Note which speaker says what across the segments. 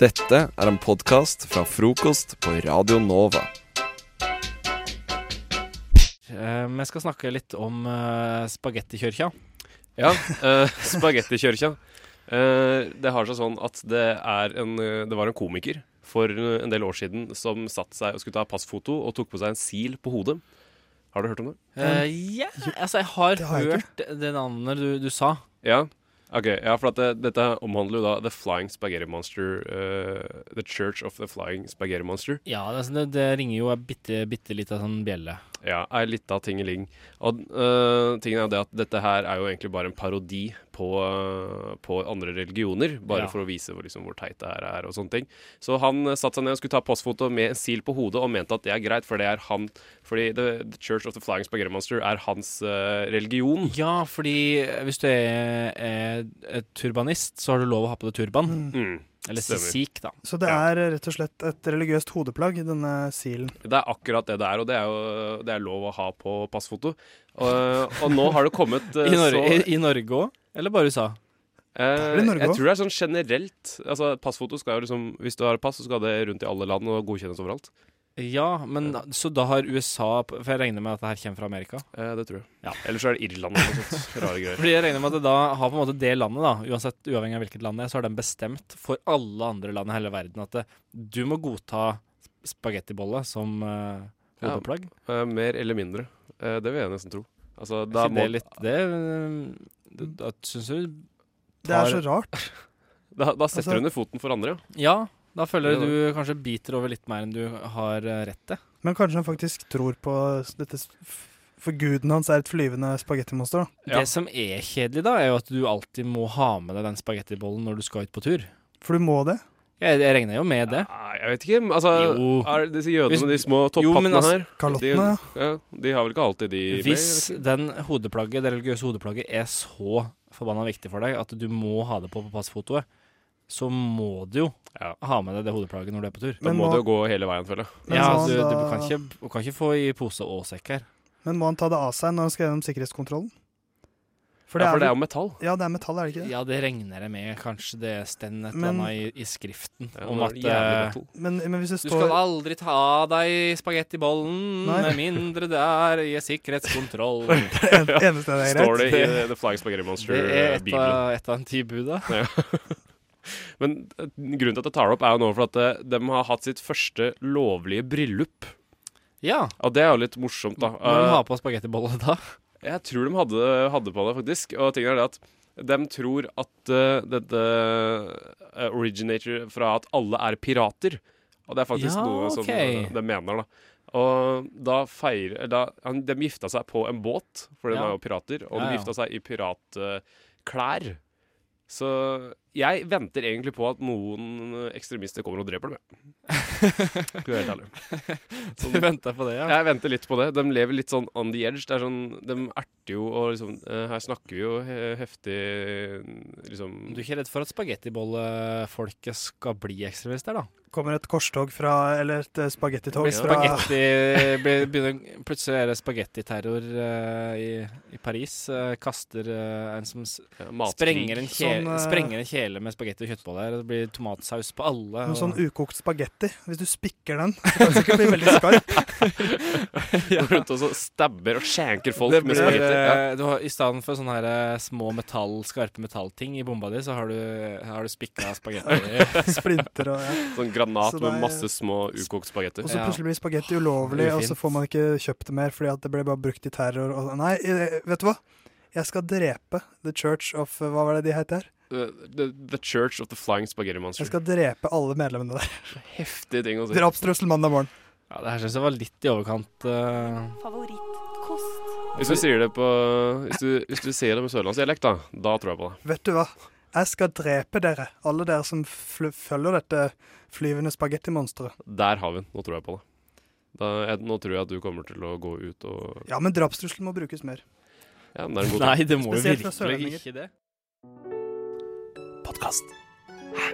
Speaker 1: Dette er en podkast fra frokost på Radio Nova.
Speaker 2: Eh, men jeg skal snakke litt om uh, spagettikjørkja.
Speaker 3: Ja, uh, spagettikjørkja. Eh, det har seg sånn at det, er en, eh, det var en komiker for eh, en del år siden som satt seg og skulle ta passfoto og tok på seg en sil på hodet. Har du hørt om det?
Speaker 2: Eh, ja, altså jeg har,
Speaker 4: har jeg
Speaker 2: hørt det navnet du, du sa.
Speaker 3: Ja. Ok, ja, for at det, Dette omhandler jo da The Flying Spaghetti Monster. eh, the Church of the Flying Spaghetti Monster.
Speaker 2: Ja, det, det, det ringer jo en bitte, bitte lita sånn bjelle.
Speaker 3: Ja, er litt av tingeling. Og øh, tingen er det at dette her er jo egentlig bare en parodi på, øh, på andre religioner, bare
Speaker 2: Ja.
Speaker 3: for å vise hvor, liksom, hvor teit det her er og sånne ting. Så han øh, satte seg ned og skulle ta postfoto med en sil på hodet og mente at det er greit, for det er han Fordi The, the Church of the Flying Spaghetti Monster er hans øh, religion.
Speaker 2: Ja, fordi eh, hvis du er, er, er turbanist, så har du lov å ha på deg turban.
Speaker 3: Mm.
Speaker 2: Eller
Speaker 3: stemmer.
Speaker 2: sikh, da.
Speaker 4: Så det er eh, rett og slett et religiøst hodeplagg, denne silen.
Speaker 3: Det er akkurat det det er, og det er jo øh, det er lov å ha på passfoto. Og, og nå har det kommet øh,
Speaker 2: I, Nor
Speaker 3: så
Speaker 2: i, i Norge òg? Eller bare USA?
Speaker 3: Eh,
Speaker 4: Bare i Norge
Speaker 3: jeg
Speaker 4: også?
Speaker 3: tror det er sånn generelt. Altså Passfoto skal jo liksom Hvis du har pass, så skal det rundt i alle land og godkjennes overalt.
Speaker 2: Ja, men da- så da har USA p- For jeg regner med at det her kommer fra Amerika.
Speaker 3: Eh, det tror jeg.
Speaker 2: Ja.
Speaker 3: Eller så er det Irland eller noe sånt. Rare greier.
Speaker 2: Fordi jeg regner med at det da har på en måte det landet, da uansett uavhengig av hvilket land det er, så har den bestemt for alle andre land i hele verden at det, du må godta spagettibolle som uh,
Speaker 3: Ja,
Speaker 2: hodeplagg.
Speaker 3: Eh, mer eller mindre. Eh, det vil jeg nesten tro. Altså,
Speaker 2: Da
Speaker 3: da
Speaker 2: det
Speaker 3: må,
Speaker 2: litt Det, eh, det, da syns du
Speaker 4: Det er
Speaker 2: Tar-
Speaker 4: så rart.
Speaker 3: da, da setter
Speaker 4: Altså-
Speaker 3: du under foten for andre, ja.
Speaker 2: Ja, da føler
Speaker 3: Ja,
Speaker 2: jeg du kanskje biter over litt mer enn du har eh, rett til.
Speaker 4: Men kanskje han faktisk tror på s- dette s- f- For guden hans er et flyvende spagettimonster, da.
Speaker 3: Ja.
Speaker 2: Det som er kjedelig, da, er jo at du alltid må ha med deg den spagettibollen når du skal ut på tur.
Speaker 4: For du må det.
Speaker 2: Jeg, jeg regner jo med det.
Speaker 3: Nei, jeg vet ikke. men Altså,
Speaker 2: Jo.
Speaker 3: er det disse jødene
Speaker 2: Hvis-
Speaker 3: med de små
Speaker 2: Jo, men
Speaker 3: topphattene
Speaker 2: altså-
Speaker 3: her?
Speaker 4: Kalottene, ja.
Speaker 3: Ja, de har vel ikke alltid de med,
Speaker 2: Hvis
Speaker 3: jeg vet ikke.
Speaker 2: den hodeplagget, det religiøse hodeplagget er så forbanna viktig for deg at du må ha det på på passfotoet, så må du jo
Speaker 3: Ja.
Speaker 2: ha med deg det hodeplagget når du er på tur.
Speaker 3: Da
Speaker 4: Men
Speaker 3: må
Speaker 4: må-
Speaker 3: det jo gå hele veien, føler jeg.
Speaker 4: Men
Speaker 2: ja,
Speaker 4: må han
Speaker 2: du, du
Speaker 4: da-
Speaker 2: kan, ikke, du kan ikke få i pose og sekk her.
Speaker 4: Men må han ta det av seg når han skal gjennom sikkerhetskontrollen? For det
Speaker 3: Ja,
Speaker 4: er,
Speaker 3: for det er
Speaker 4: vel-
Speaker 3: jo metall.
Speaker 4: ja, det er metall, er det ikke det?
Speaker 2: Ja, det regner jeg med. Kanskje det stender et eller
Speaker 4: Men-
Speaker 2: annet i, i skriften
Speaker 3: Ja,
Speaker 2: om
Speaker 3: det
Speaker 2: at
Speaker 3: er jævlig
Speaker 2: eh,
Speaker 3: metall.
Speaker 4: Men, men hvis det
Speaker 2: du skal
Speaker 4: står
Speaker 2: aldri ta av deg spagettibollen
Speaker 4: Nei.
Speaker 2: med mindre det er i sikkerhetskontroll.
Speaker 4: en- eneste det er
Speaker 3: Står
Speaker 4: greit
Speaker 3: det i eh, The Flying Spaghetti
Speaker 2: Det er et
Speaker 3: Monster-bibelen.
Speaker 2: av, et av en ti bud, da.
Speaker 3: Men eh, grunnen til at jeg tar det opp, er jo nå for at eh, de har hatt sitt første lovlige bryllup.
Speaker 2: Ja.
Speaker 3: Og det er jo litt morsomt, da.
Speaker 2: Må du ha på spagettibolle da?
Speaker 3: Eh, Jeg tror de hadde, hadde på det, faktisk. Og tingen er det at de tror at eh, dette eh, originator fra at alle er pirater. Og det er faktisk
Speaker 2: Ja,
Speaker 3: noe som
Speaker 2: ok.
Speaker 3: eh, de mener, da. Og da feirer da, han, De gifta seg på en båt, for de
Speaker 2: Ja.
Speaker 3: er jo pirater. Og de
Speaker 2: Ja, ja.
Speaker 3: gifta seg i piratklær. Så jeg venter egentlig på at noen ekstremister kommer og dreper dem. jeg. Skal jeg være helt ærlig.
Speaker 2: Du venta på det, ja?
Speaker 3: Jeg venter litt på det. De lever litt sånn on the edge. Det er sånn, de erter jo og liksom eh, Her snakker vi jo he- heftig liksom
Speaker 2: Du er ikke redd for at spagettibollefolket skal bli ekstremister, da?
Speaker 4: Kommer et korstog fra Eller et eh, spagettitog
Speaker 2: Blir
Speaker 4: fra
Speaker 2: spagetti, blir- begynner, plutselig er det spagettiterror eh, i, i Paris. eh, kaster eh, en som s-
Speaker 3: ja, matkrig.
Speaker 2: sprenger en, kje,
Speaker 4: Sånn, eh,
Speaker 2: sprenger en kjele med spagetti og kjøttboller. og Det blir tomatsaus på alle.
Speaker 4: Noe
Speaker 2: og-
Speaker 4: sånn ukokt spagetti. Hvis du spikker den, så kan den sikkert bli veldig skarp.
Speaker 3: Går rundt og så stabber og skjenker folk
Speaker 2: Det
Speaker 3: med
Speaker 2: blir,
Speaker 3: spagetti. Ja.
Speaker 2: eh, du har, I stedet for sånne her, eh, små metall, skarpe metallting i bomba di, så har du, har du spikka spagetti.
Speaker 4: Splinter og ja.
Speaker 3: Sånn granat
Speaker 4: Så
Speaker 3: med
Speaker 4: det er-
Speaker 3: masse små ukokt spagetti.
Speaker 4: Og så
Speaker 2: Ja.
Speaker 4: plutselig blir spagetti ulovlig, og så
Speaker 2: Ufint.
Speaker 4: får man ikke kjøpt det mer fordi at det ble bare brukt i terror og Nei, eh, vet du hva? Jeg skal drepe The Church of eh, Hva var det de het der?
Speaker 3: The, Eh, the, the Church of the Flying Spaghetti
Speaker 4: Jeg
Speaker 3: Monster.
Speaker 4: skal drepe alle medlemmene der.
Speaker 3: Heftige ting å si.
Speaker 4: Drapstrussel mandag morgen.
Speaker 2: Ja, det her syns jeg var litt i overkant. eh,
Speaker 5: Favorittkost.
Speaker 3: Hvis du sier det på Hvis du, hvis du sier det med sørlandsdialekt, da, da tror jeg på det.
Speaker 4: Vet du hva? Jeg skal drepe dere, alle dere som fl følger dette flyvende spagettimonsteret.
Speaker 3: Der har vi den. Nå tror jeg på det. Da, jeg, nå tror jeg at du kommer til å gå ut og
Speaker 4: Ja, men drapstrusselen må brukes mer.
Speaker 3: ja, men det er en god
Speaker 2: Nei, det må jo
Speaker 4: Spesielt fra
Speaker 2: virkelig ikke det.
Speaker 1: Podkast. Hæ?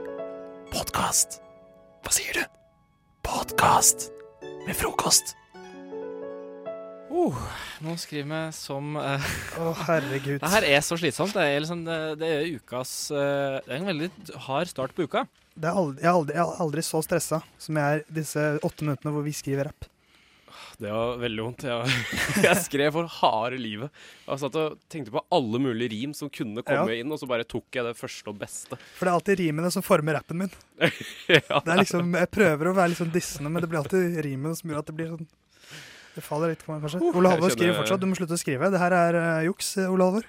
Speaker 1: Podkast? Hva sier du? Podkast med frokost.
Speaker 3: Å,
Speaker 2: Uh, nå skriver vi som eh,
Speaker 4: Å, herregud.
Speaker 2: Det her er så slitsomt. Det er, liksom, det, det er ukas eh, Det er en veldig hard start på uka.
Speaker 4: Det er aldri, jeg, er aldri, jeg er aldri så stressa som jeg er disse åtte minuttene hvor vi skriver rapp.
Speaker 3: Det var veldig vondt. Jeg, jeg skrev for harde livet. Jeg satt og tenkte på alle mulige rim som kunne komme inn, og så bare tok jeg det første og beste.
Speaker 4: For det er alltid rimene som former rappen min. Det er liksom, Jeg prøver å være litt sånn dissende, men det blir alltid rimene som gjør at det blir sånn Det faller litt, kanskje. Ole Halvor
Speaker 3: Oh, jeg
Speaker 4: skriver
Speaker 3: kjenner-
Speaker 4: fortsatt. Du må slutte å skrive. Det her er eh, juks, eh, Ole Halvor.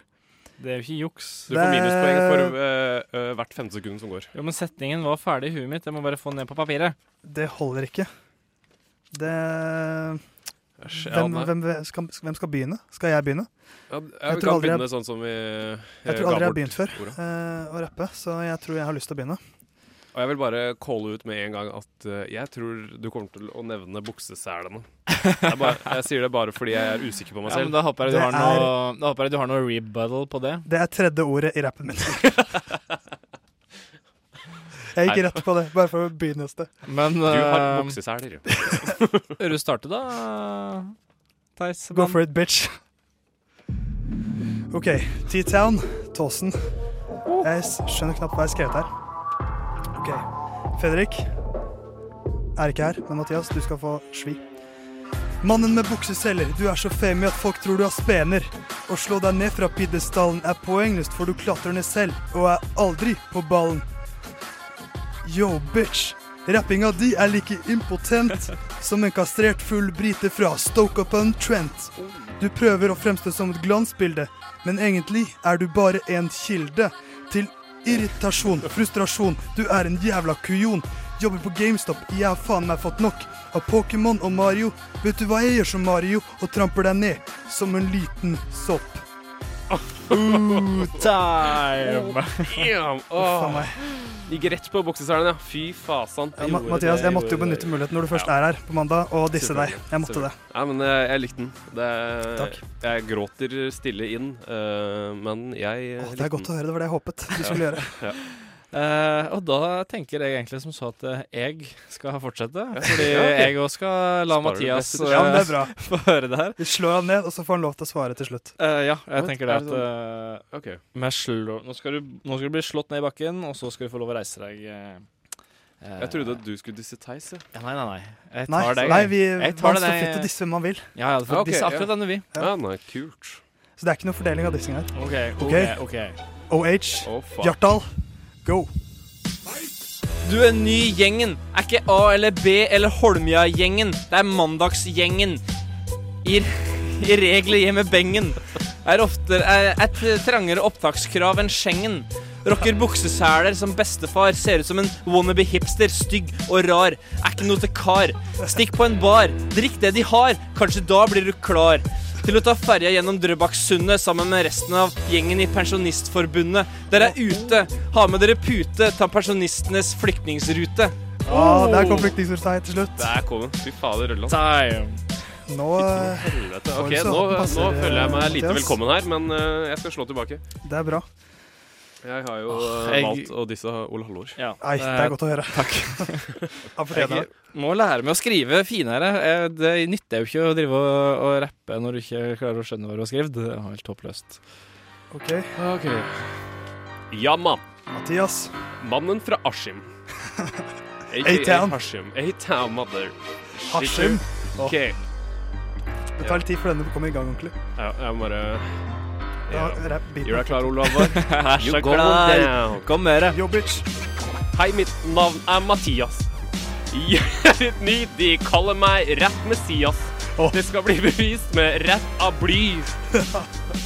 Speaker 2: Det er jo ikke juks.
Speaker 3: Du får minuspoeng for øh, øh, hvert femte sekund som går.
Speaker 2: Jo, men setningen var ferdig i huet mitt. Jeg må bare få den ned på papiret.
Speaker 4: Det holder ikke. Det
Speaker 3: Æsj, ja,
Speaker 4: hvem,
Speaker 3: nei.
Speaker 4: hvem, skal, hvem skal begynne? Skal jeg begynne?
Speaker 3: Ja,
Speaker 4: Jeg
Speaker 3: vi
Speaker 4: tror
Speaker 3: kan
Speaker 4: aldri jeg-
Speaker 3: begynne sånn som vi Jeg
Speaker 4: Jeg tror aldri jeg har begynt før eh, å rappe, så jeg tror jeg har lyst til å begynne.
Speaker 3: Og jeg vil bare calle ut med en gang at eh, jeg tror du kommer til å nevne bukseselene. Jeg, bare, jeg sier det bare fordi jeg er usikker på meg
Speaker 2: Ja, men
Speaker 3: selv.
Speaker 2: da håper jeg du
Speaker 4: Det
Speaker 2: har noe, da håper jeg du har noe rebuttal på det.
Speaker 4: Det er tredje ordet i rappen min. Jeg gikk rett på det, bare for å begynne et sted.
Speaker 2: Men
Speaker 3: Du har
Speaker 2: eh,
Speaker 3: bukseseler.
Speaker 2: bør du starte, da? Theis.
Speaker 4: Go for it, bitch. OK. T-Town, Tåsen. Jeg s- skjønner knapt hva jeg har skrevet her. OK. Fredrik er ikke her, men Mathias, du skal få svi. Mannen med bukseceller, du er så femi at folk tror du har spener. Å slå deg ned fra pidestallen er poengløst, for du klatrer ned selv og er aldri på ballen. Yo, bitch. Rappinga di er like impotent som en kastrert full brite fra Stoke-upon-Trent. Du prøver å fremstå som et glansbilde, men egentlig er du bare en kilde til irritasjon, frustrasjon. Du er en jævla kujon. Jobber på GameStop, jeg har faen meg fått nok av Pokémon og Mario. Vet du hva jeg gjør som Mario? Og tramper deg ned som en liten sopp.
Speaker 2: Time!
Speaker 3: Oh, Damn!
Speaker 4: Faen
Speaker 3: Åh,
Speaker 4: meg.
Speaker 3: gikk rett på bukseselene, ja. Fy fasan.
Speaker 4: Ja, Ma Mathias, jeg måtte jo benytte muligheten når du først er her på mandag, og disse deg. Jeg måtte det.
Speaker 3: Nei, men jeg, jeg likte den. Det,
Speaker 4: Takk.
Speaker 3: Jeg gråter stille inn, øh, men jeg
Speaker 4: Åh, det er godt å høre. Det var det jeg håpet du skulle gjøre.
Speaker 2: Eh, og da tenker jeg egentlig som så at eh, jeg skal fortsette. Fordi jeg òg skal
Speaker 3: Sparer
Speaker 2: la
Speaker 3: du
Speaker 2: Mathias
Speaker 3: beste til
Speaker 4: Ja, men det
Speaker 2: eh,
Speaker 4: er bra.
Speaker 2: få høre det her.
Speaker 4: Vi slår han ned, og så får han lov til å svare til slutt.
Speaker 2: Eh, ja, jeg
Speaker 3: What?
Speaker 2: tenker det
Speaker 3: Er
Speaker 2: at
Speaker 3: det sånn?
Speaker 2: eh,
Speaker 3: OK.
Speaker 2: med slå, nå, skal du, nå skal du bli slått ned i bakken, og så skal du få lov å reise deg. eh, eh,
Speaker 3: Jeg trodde at du skulle disse Theis, jeg.
Speaker 2: ja, Nei, nei, nei. Jeg
Speaker 4: Nei,
Speaker 2: tar deg.
Speaker 4: nei vi,
Speaker 2: Jeg tar
Speaker 4: man
Speaker 2: det,
Speaker 4: står
Speaker 2: jeg-
Speaker 4: fritt til å disse hvem man vil.
Speaker 2: Ja, jeg hadde fått
Speaker 3: Ja, ok,
Speaker 2: disse
Speaker 3: ja.
Speaker 2: akkurat denne, vi.
Speaker 4: Ja.
Speaker 3: Ja, nei, kult.
Speaker 4: Så det er ikke noe fordeling av dissing her.
Speaker 2: OK, OK.
Speaker 4: Ok.
Speaker 2: ok.
Speaker 4: OH,
Speaker 3: Å, faen.
Speaker 4: Hjartdal, go!
Speaker 2: Du er ny i gjengen. Er ikke A eller B eller Holmia-gjengen. Det er mandagsgjengen. I, i regler hjemme bengen. Er ofte er et trangere opptakskrav enn Schengen. Rocker bukseseler som bestefar. Ser ut som en wannabe hipster. Stygg og rar. Er ikke noe til kar. Stikk på en bar. Drikk det de har. Kanskje da blir du klar. Til å ta ferja gjennom Drøbaksundet sammen med resten av gjengen i Pensjonistforbundet. Dere er ute. Ha med dere pute. Ta pensjonistenes flyktningrute.
Speaker 4: Ah, der kom flyktningsordstein til slutt.
Speaker 3: Der kom den. Fy fader, Rølland.
Speaker 2: Time.
Speaker 4: Nå eh,
Speaker 3: Helvete. Ok,
Speaker 4: Oi, så
Speaker 3: nå,
Speaker 4: den passer,
Speaker 3: nå føler jeg meg lite
Speaker 4: Mathias.
Speaker 3: velkommen her, men øh, jeg skal slå tilbake.
Speaker 4: Det er bra.
Speaker 3: Jeg har jo
Speaker 2: Åh,
Speaker 3: øh,
Speaker 2: jeg-
Speaker 3: valgt å disse Ole Halvor.
Speaker 2: Ja. Eh,
Speaker 4: Nei, det er godt å høre.
Speaker 2: Takk.
Speaker 4: Han fortjener det.
Speaker 2: Må lære meg å skrive finere. Eh, Det nytter jo ikke å drive og, og rappe når du ikke klarer å skjønne hva du har skrevet. Det er helt håpløst.
Speaker 4: OK.
Speaker 3: Ok. Jamma.
Speaker 4: Mathias.
Speaker 3: Mannen fra Askim.
Speaker 4: A-Town.
Speaker 3: Askim. A-Town, mother.
Speaker 4: Hashim.
Speaker 3: OK.
Speaker 4: Det tar litt tid for denne å komme i gang ordentlig.
Speaker 3: Ja, jeg må bare
Speaker 4: Ja,
Speaker 3: ja.
Speaker 4: rap
Speaker 3: Gjør deg
Speaker 4: beaten.
Speaker 3: klar, Ole Halvor.
Speaker 2: Jeg
Speaker 3: You go down.
Speaker 2: Kom med det.
Speaker 4: Yo, bitch.
Speaker 3: Hei, mitt navn er Mathias. Jeg er litt ny, de kaller meg Rett Messias.
Speaker 4: Åh.
Speaker 3: Det skal bli bevist med rett av bly.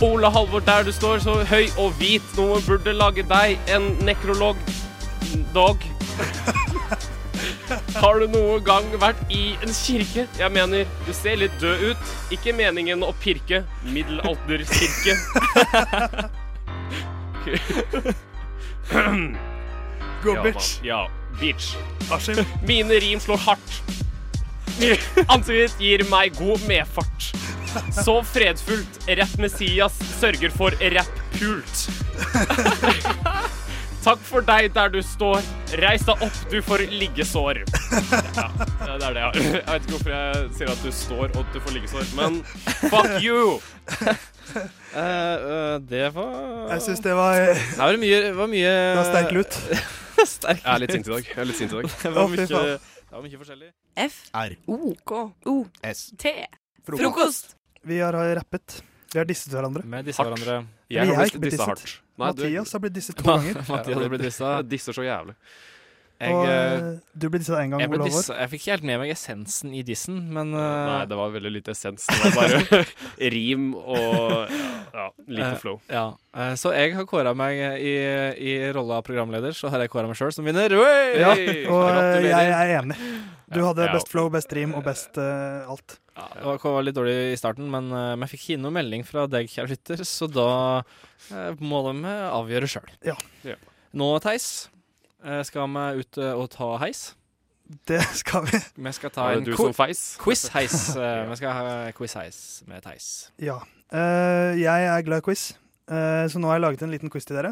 Speaker 3: Ole Halvor, der du står, så høy og hvit. Noen burde lage deg en nekrolog. Dog. Har du noen gang vært i en kirke? Jeg mener, du ser litt død ut. Ikke meningen å pirke. Middelalderkirke.
Speaker 4: Go,
Speaker 3: Ja,
Speaker 4: bitch.
Speaker 3: mann. Ja, bitch.
Speaker 4: Hashim.
Speaker 3: Mine rim slår hardt. Ansiktet ditt gir meg god medfart. Så fredfullt. Rett Messias sørger for rapp-pult.
Speaker 6: Takk for deg der du står. Reis deg opp, du får liggesår. Ja, det er det jeg har. Jeg vet ikke hvorfor jeg sier at du står og du får liggesår, men fuck you!
Speaker 7: Eh, eh, det var
Speaker 4: Jeg syns det var, det
Speaker 7: Det var mye, var mye
Speaker 4: var sterk lut.
Speaker 7: Sterk
Speaker 3: Jeg er litt sint i dag. Jeg er litt sint i dag.
Speaker 7: Det var
Speaker 4: Å, fy
Speaker 7: mye,
Speaker 4: faen.
Speaker 7: det var mye forskjellig.
Speaker 8: F.
Speaker 9: R.
Speaker 8: O. K. O.
Speaker 9: S.
Speaker 8: T.
Speaker 9: Frokost.
Speaker 8: Frokost.
Speaker 4: Vi har rappet. Vi har disset hverandre.
Speaker 2: Med disse
Speaker 3: Hardt.
Speaker 2: hverandre.
Speaker 4: Men
Speaker 3: Jeg
Speaker 4: jeg
Speaker 3: har
Speaker 4: har
Speaker 3: blitt
Speaker 4: ikke blitt
Speaker 3: dissa
Speaker 4: disset.
Speaker 3: hardt.
Speaker 4: Mathias har blitt disset to ganger.
Speaker 2: Mathias har blitt dissa.
Speaker 3: Jeg disser så jævlig.
Speaker 2: Jeg,
Speaker 4: og
Speaker 2: eh,
Speaker 4: eh, du ble disset én gang,
Speaker 2: jeg, ble
Speaker 4: Olav Aar.
Speaker 2: dissa. jeg fikk ikke helt med meg essensen i dissen, men
Speaker 3: Nei,
Speaker 2: eh,
Speaker 3: det var veldig lite essens. Det var bare rim og ja, lite
Speaker 2: Eh,
Speaker 3: flow.
Speaker 2: ja. Eh, Så jeg har kåra meg i, i rolla av programleder, så har jeg kåra meg sjøl som vinner. Oi!
Speaker 4: Ja,
Speaker 3: Hey,
Speaker 4: og eh,
Speaker 2: gratulerer.
Speaker 4: jeg er enig. Du
Speaker 3: Ja,
Speaker 4: hadde
Speaker 3: jeg
Speaker 4: best flow, best stream og best eh, alt.
Speaker 2: Ja, det var- var litt dårlig i starten, men, eh, men jeg fikk ikke inn noen melding fra deg, kjære lytter, så da eh, må de eh, avgjøre sjøl.
Speaker 4: Ja.
Speaker 3: Ja.
Speaker 2: Nå, Theis, eh, skal vi ut eh, og ta heis.
Speaker 4: Det skal vi.
Speaker 2: Vi skal ta
Speaker 3: Var
Speaker 2: en
Speaker 3: det du
Speaker 2: quiz.
Speaker 3: som feis?
Speaker 2: Quiz-heis. eh, Vi skal ha quiz-heis med Theis.
Speaker 4: Ja. Eh, jeg er glad i quiz, Eh, så nå har jeg laget en liten quiz til dere.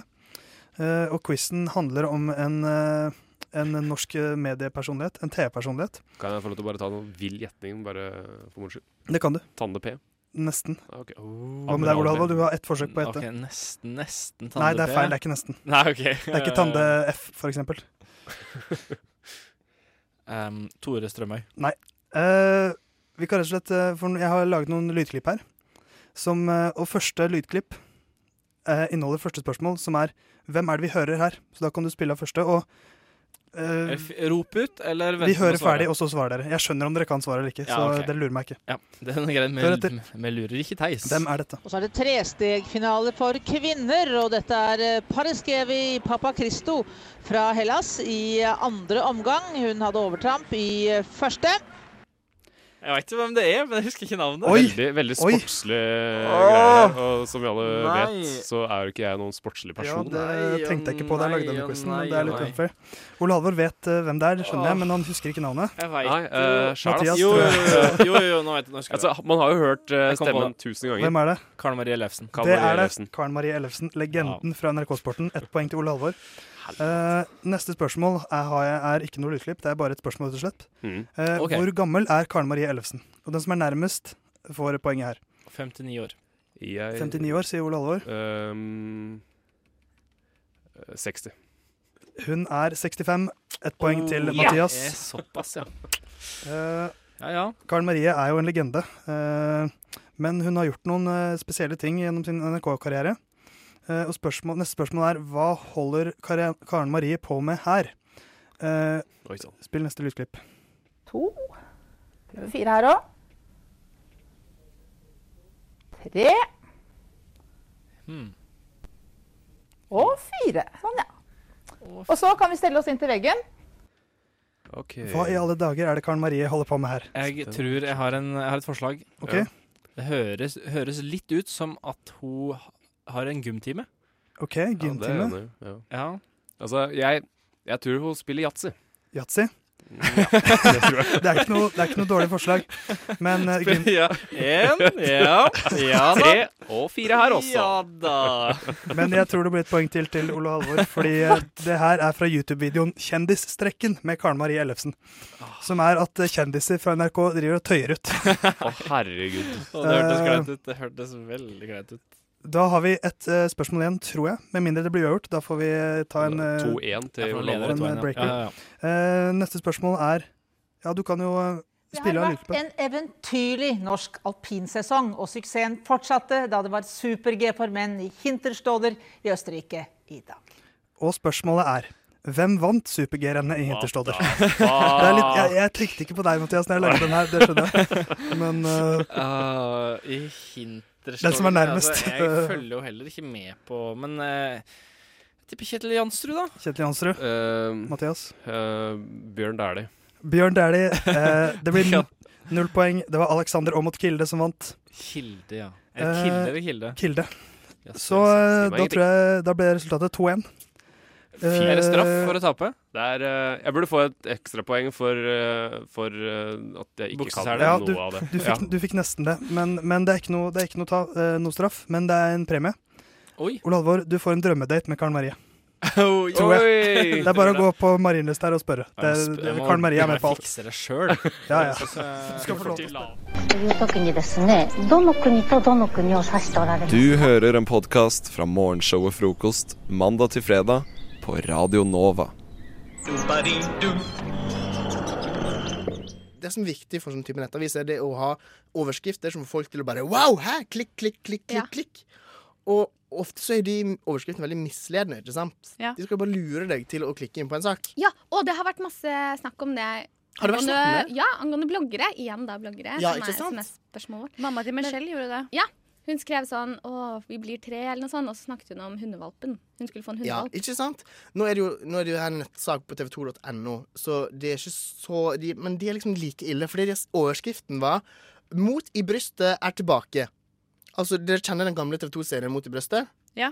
Speaker 4: Eh, og quizen handler om en, eh, en norsk eh, mediepersonlighet, en TV-personlighet.
Speaker 3: Kan jeg få lov til å bare ta noen vill gjetning, bare for moro skyld?
Speaker 4: Det kan du.
Speaker 3: Tanne P.
Speaker 4: Nesten.
Speaker 3: Ah, ok.
Speaker 4: Hva med deg, Olav? Du har ett forsøk på å gjette.
Speaker 2: Ok, nesten,
Speaker 4: Nei,
Speaker 2: nesten
Speaker 4: det
Speaker 2: Tande-P.
Speaker 4: er feil. Det er ikke nesten.
Speaker 2: Nei, ok.
Speaker 4: Det er ikke Tande F, for eksempel.
Speaker 2: Um, Tore Strømøy.
Speaker 4: Eh, vi kan rett og slett eh, For jeg har laget noen lydklipp her. Som, eh, og første lydklipp eh, inneholder første spørsmål, som er 'Hvem er det vi hører her?' Så da kan du spille av første, og eh,
Speaker 2: F- Rop ut, eller vent
Speaker 4: vi
Speaker 2: med å
Speaker 4: hører
Speaker 2: svare.
Speaker 4: ferdig, og så svarer dere. Jeg skjønner om dere kan svare eller ikke,
Speaker 2: Ja,
Speaker 4: så
Speaker 2: ok.
Speaker 4: dere lurer meg ikke.
Speaker 2: Ja, den er grei,
Speaker 4: Hør
Speaker 2: men
Speaker 4: etter.
Speaker 2: vi lurer ikke Theis.
Speaker 4: Hvem er dette?
Speaker 10: Og så er det trestegfinale for kvinner, og dette er eh, Pareskevi Papakristo fra Hellas i eh, andre omgang. Hun hadde overtramp i eh, første.
Speaker 2: Jeg veit jo hvem det er, men jeg husker ikke navnet.
Speaker 4: Oi!
Speaker 3: Veldig, veldig
Speaker 4: Oi.
Speaker 3: sportslig greier. her, Og som vi alle
Speaker 7: Nei.
Speaker 3: vet, så er jo ikke jeg noen sportslig
Speaker 4: Ja,
Speaker 3: person.
Speaker 4: det
Speaker 7: Nei,
Speaker 4: Eh, tenkte jeg ikke på da jeg lagde denne
Speaker 7: nei,
Speaker 4: quizen.
Speaker 7: nei,
Speaker 4: men det er litt
Speaker 7: nei.
Speaker 4: unfair. Ole Halvor vet eh, hvem det er, skjønner jeg, men han husker ikke navnet.
Speaker 2: Jeg vet. eh,
Speaker 3: Nei, uh, sjæl,
Speaker 4: Mathias,
Speaker 3: ass.
Speaker 2: jo,
Speaker 4: tror
Speaker 2: jo,
Speaker 4: jeg.
Speaker 2: jo, jo, jo, jo, nå vet jeg nå husker jeg.
Speaker 3: Altså, man har jo hørt eh,
Speaker 2: Jeg kom på
Speaker 3: stemmen tusen ganger.
Speaker 4: Hvem er det?
Speaker 2: Karl Marie Ellefsen.
Speaker 3: Kan
Speaker 4: Det
Speaker 3: man gjøre
Speaker 4: er det.
Speaker 3: resten?
Speaker 4: Karen Marie Ellefsen, legenden fra NRK Sporten. Ett poeng til Ole Halvor. Eh, neste spørsmål er, har jeg, er ikke noe utklipp, det er bare et spørsmål, rett og slett.
Speaker 3: Mm.
Speaker 4: Eh,
Speaker 2: Ok.
Speaker 4: Hvor gammel er Karen Marie Ellefsen? Og den som er nærmest, får poenget her.
Speaker 2: 59 år. Eh,
Speaker 3: Jeg,
Speaker 4: 59 år, sier Ole Halvor.
Speaker 3: Ehm, 60.
Speaker 4: Hun er 65. Ett poeng til
Speaker 2: Oh,
Speaker 4: Mathias.
Speaker 2: Ja, eh, såpass, ja.
Speaker 4: Eh,
Speaker 2: Ja, ja.
Speaker 4: Karen Marie er jo en legende, eh, men hun har gjort noen eh, spesielle ting gjennom sin NRK-karriere. Eh, og spørsmål, neste spørsmål er hva holder Kare- Karen Marie på med her? Eh,
Speaker 3: Oi sann.
Speaker 4: spill neste lydklipp.
Speaker 11: To. Prøve fire her òg. Tre. Og fire. Sånn, ja. Og så kan vi stelle oss inn til veggen.
Speaker 3: OK.
Speaker 4: Hva i alle dager er det Karen Marie holder på med her?
Speaker 2: Jeg tror jeg har, en, jeg har et forslag.
Speaker 4: Ok,
Speaker 3: Ja.
Speaker 2: Det høres, høres litt ut som at hun har en gymtime.
Speaker 4: ok,
Speaker 3: Ja, det er jeg
Speaker 4: gymtime.
Speaker 3: enig i, ja.
Speaker 2: Ja.
Speaker 3: Altså, jeg, jeg tror hun spiller yatzy.
Speaker 4: Yatzy. det, er ikke noe- det er ikke noe dårlig forslag, men eh, gym,
Speaker 2: ja. En, ja, ja da.
Speaker 3: Tre og fire her også.
Speaker 2: Ja da.
Speaker 4: Men jeg tror det blir et poeng til til Ole Halvor, fordi eh, det her er fra YouTube-videoen 'Kjendisstrekken' med Karen Marie Ellefsen. Som er at eh, kjendiser fra NRK driver og tøyer ut.
Speaker 3: Å, herregud.
Speaker 2: Og det
Speaker 3: Eh,
Speaker 2: hørtes greit ut. Det hørtes veldig greit ut.
Speaker 4: Da har vi et eh, spørsmål igjen, tror jeg. Med mindre det blir uavgjort. Da får vi eh, ta en eh,
Speaker 3: 2-1 til
Speaker 2: Jeg får
Speaker 3: Olav.
Speaker 2: leder
Speaker 4: en,
Speaker 2: to-en, ja.
Speaker 4: breaker.
Speaker 2: Ja, ja, ja.
Speaker 4: eh, Neste spørsmål er Ja, du kan jo eh,
Speaker 10: Det har
Speaker 4: spille av
Speaker 10: vært
Speaker 4: lydklippet.
Speaker 10: en eventyrlig norsk alpinsesong, og suksessen fortsatte da det var super-G for menn i Hinterstoder i Østerrike i dag.
Speaker 4: Og spørsmålet er Hvem vant super-G-rennet i Hinterstodder?
Speaker 3: Hva?
Speaker 4: Det er litt, jeg, jeg tenkte ikke på deg, Mathias, når jeg lagde den her. Det skjønner jeg. Men eh,
Speaker 2: Ah, I hinterstolen
Speaker 4: Den som er nærmest.
Speaker 2: Altså, jeg følger jo heller ikke med på Men eh, jeg tipper Kjetil Jansrud, da.
Speaker 4: Kjetil Jansrud,
Speaker 3: Ehm,
Speaker 4: Mathias.
Speaker 3: eh, Bjørn Dæhlie.
Speaker 4: Bjørn Dæhlie. Eh, det blir n- null poeng. Det var Alexander Aamodt Kilde som vant.
Speaker 2: Kilde, ja.
Speaker 4: Eh,
Speaker 2: Eller Kilde eller Kilde.
Speaker 4: Kilde.
Speaker 2: Yes,
Speaker 4: Så eh,
Speaker 3: Yes, yes.
Speaker 4: da tror jeg da ble resultatet 2-1.
Speaker 2: Er det straff
Speaker 4: Eh,
Speaker 2: for å tape?
Speaker 3: Det er, eh, jeg burde få et ekstrapoeng for, eh, for eh, at jeg ikke
Speaker 2: Bukseselen.
Speaker 3: kan
Speaker 4: Ja,
Speaker 3: noe av det.
Speaker 4: Du fikk, du fikk nesten det, men, men det er ikke noe, det er ikke noe, ta, eh, noe straff. Men det er en premie.
Speaker 2: Oi.
Speaker 4: Ole Alvor, du får en drømmedate med Karen Marie. Tror jeg.
Speaker 5: Oi!
Speaker 4: Det er bare å gå på Marienlyst her og spørre. Det,
Speaker 12: Jeg
Speaker 4: det,
Speaker 12: må-
Speaker 4: Karen Marie er med på
Speaker 12: Jeg
Speaker 4: alt.
Speaker 12: fikser det sjøl.
Speaker 4: Ja, ja.
Speaker 12: Eh,
Speaker 4: Skal få lov til å spørre.
Speaker 13: という時にですねどの国とどの国を指しておられます
Speaker 1: Du hører en podkast fra morgenshowet Frokost mandag til fredag på Radio Nova.
Speaker 14: Det som er viktig for sånn type nettavis, er det å ha overskrifter som får folk til å bare Wow! Hæ? Klikk, klikk, klikk, klikk.
Speaker 15: Ja.
Speaker 14: klikk. Og ofte så er de overskriftene veldig misledende, ikke sant?
Speaker 15: Ja.
Speaker 14: De skal bare lure deg til å klikke inn på en sak.
Speaker 15: Ja, og det har vært masse snakk om det.
Speaker 14: Har det vært
Speaker 15: angående-
Speaker 14: snakk om det?
Speaker 15: Ja, angående bloggere. Igjen da, bloggere.
Speaker 14: Ja,
Speaker 15: som
Speaker 14: ikke
Speaker 15: er-
Speaker 14: sant?
Speaker 15: Som er spørsmålet vårt.
Speaker 16: Mamma til Michelle gjorde det.
Speaker 15: Hun skrev sånn Å, vi blir tre, eller noe sånt. Og så snakket hun om hundevalpen. Hun skulle få en
Speaker 14: Ja,
Speaker 15: hundevalp.
Speaker 14: ikke sant? Nå er det jo, nå er det jo her en nettsak på tv2.no, så det er ikke så de, Men de er liksom like ille, fordi deres overskriften var 'Mot i brystet er tilbake'. Altså, Dere kjenner den gamle TV2-serien 'Mot i brystet'?
Speaker 16: Ja.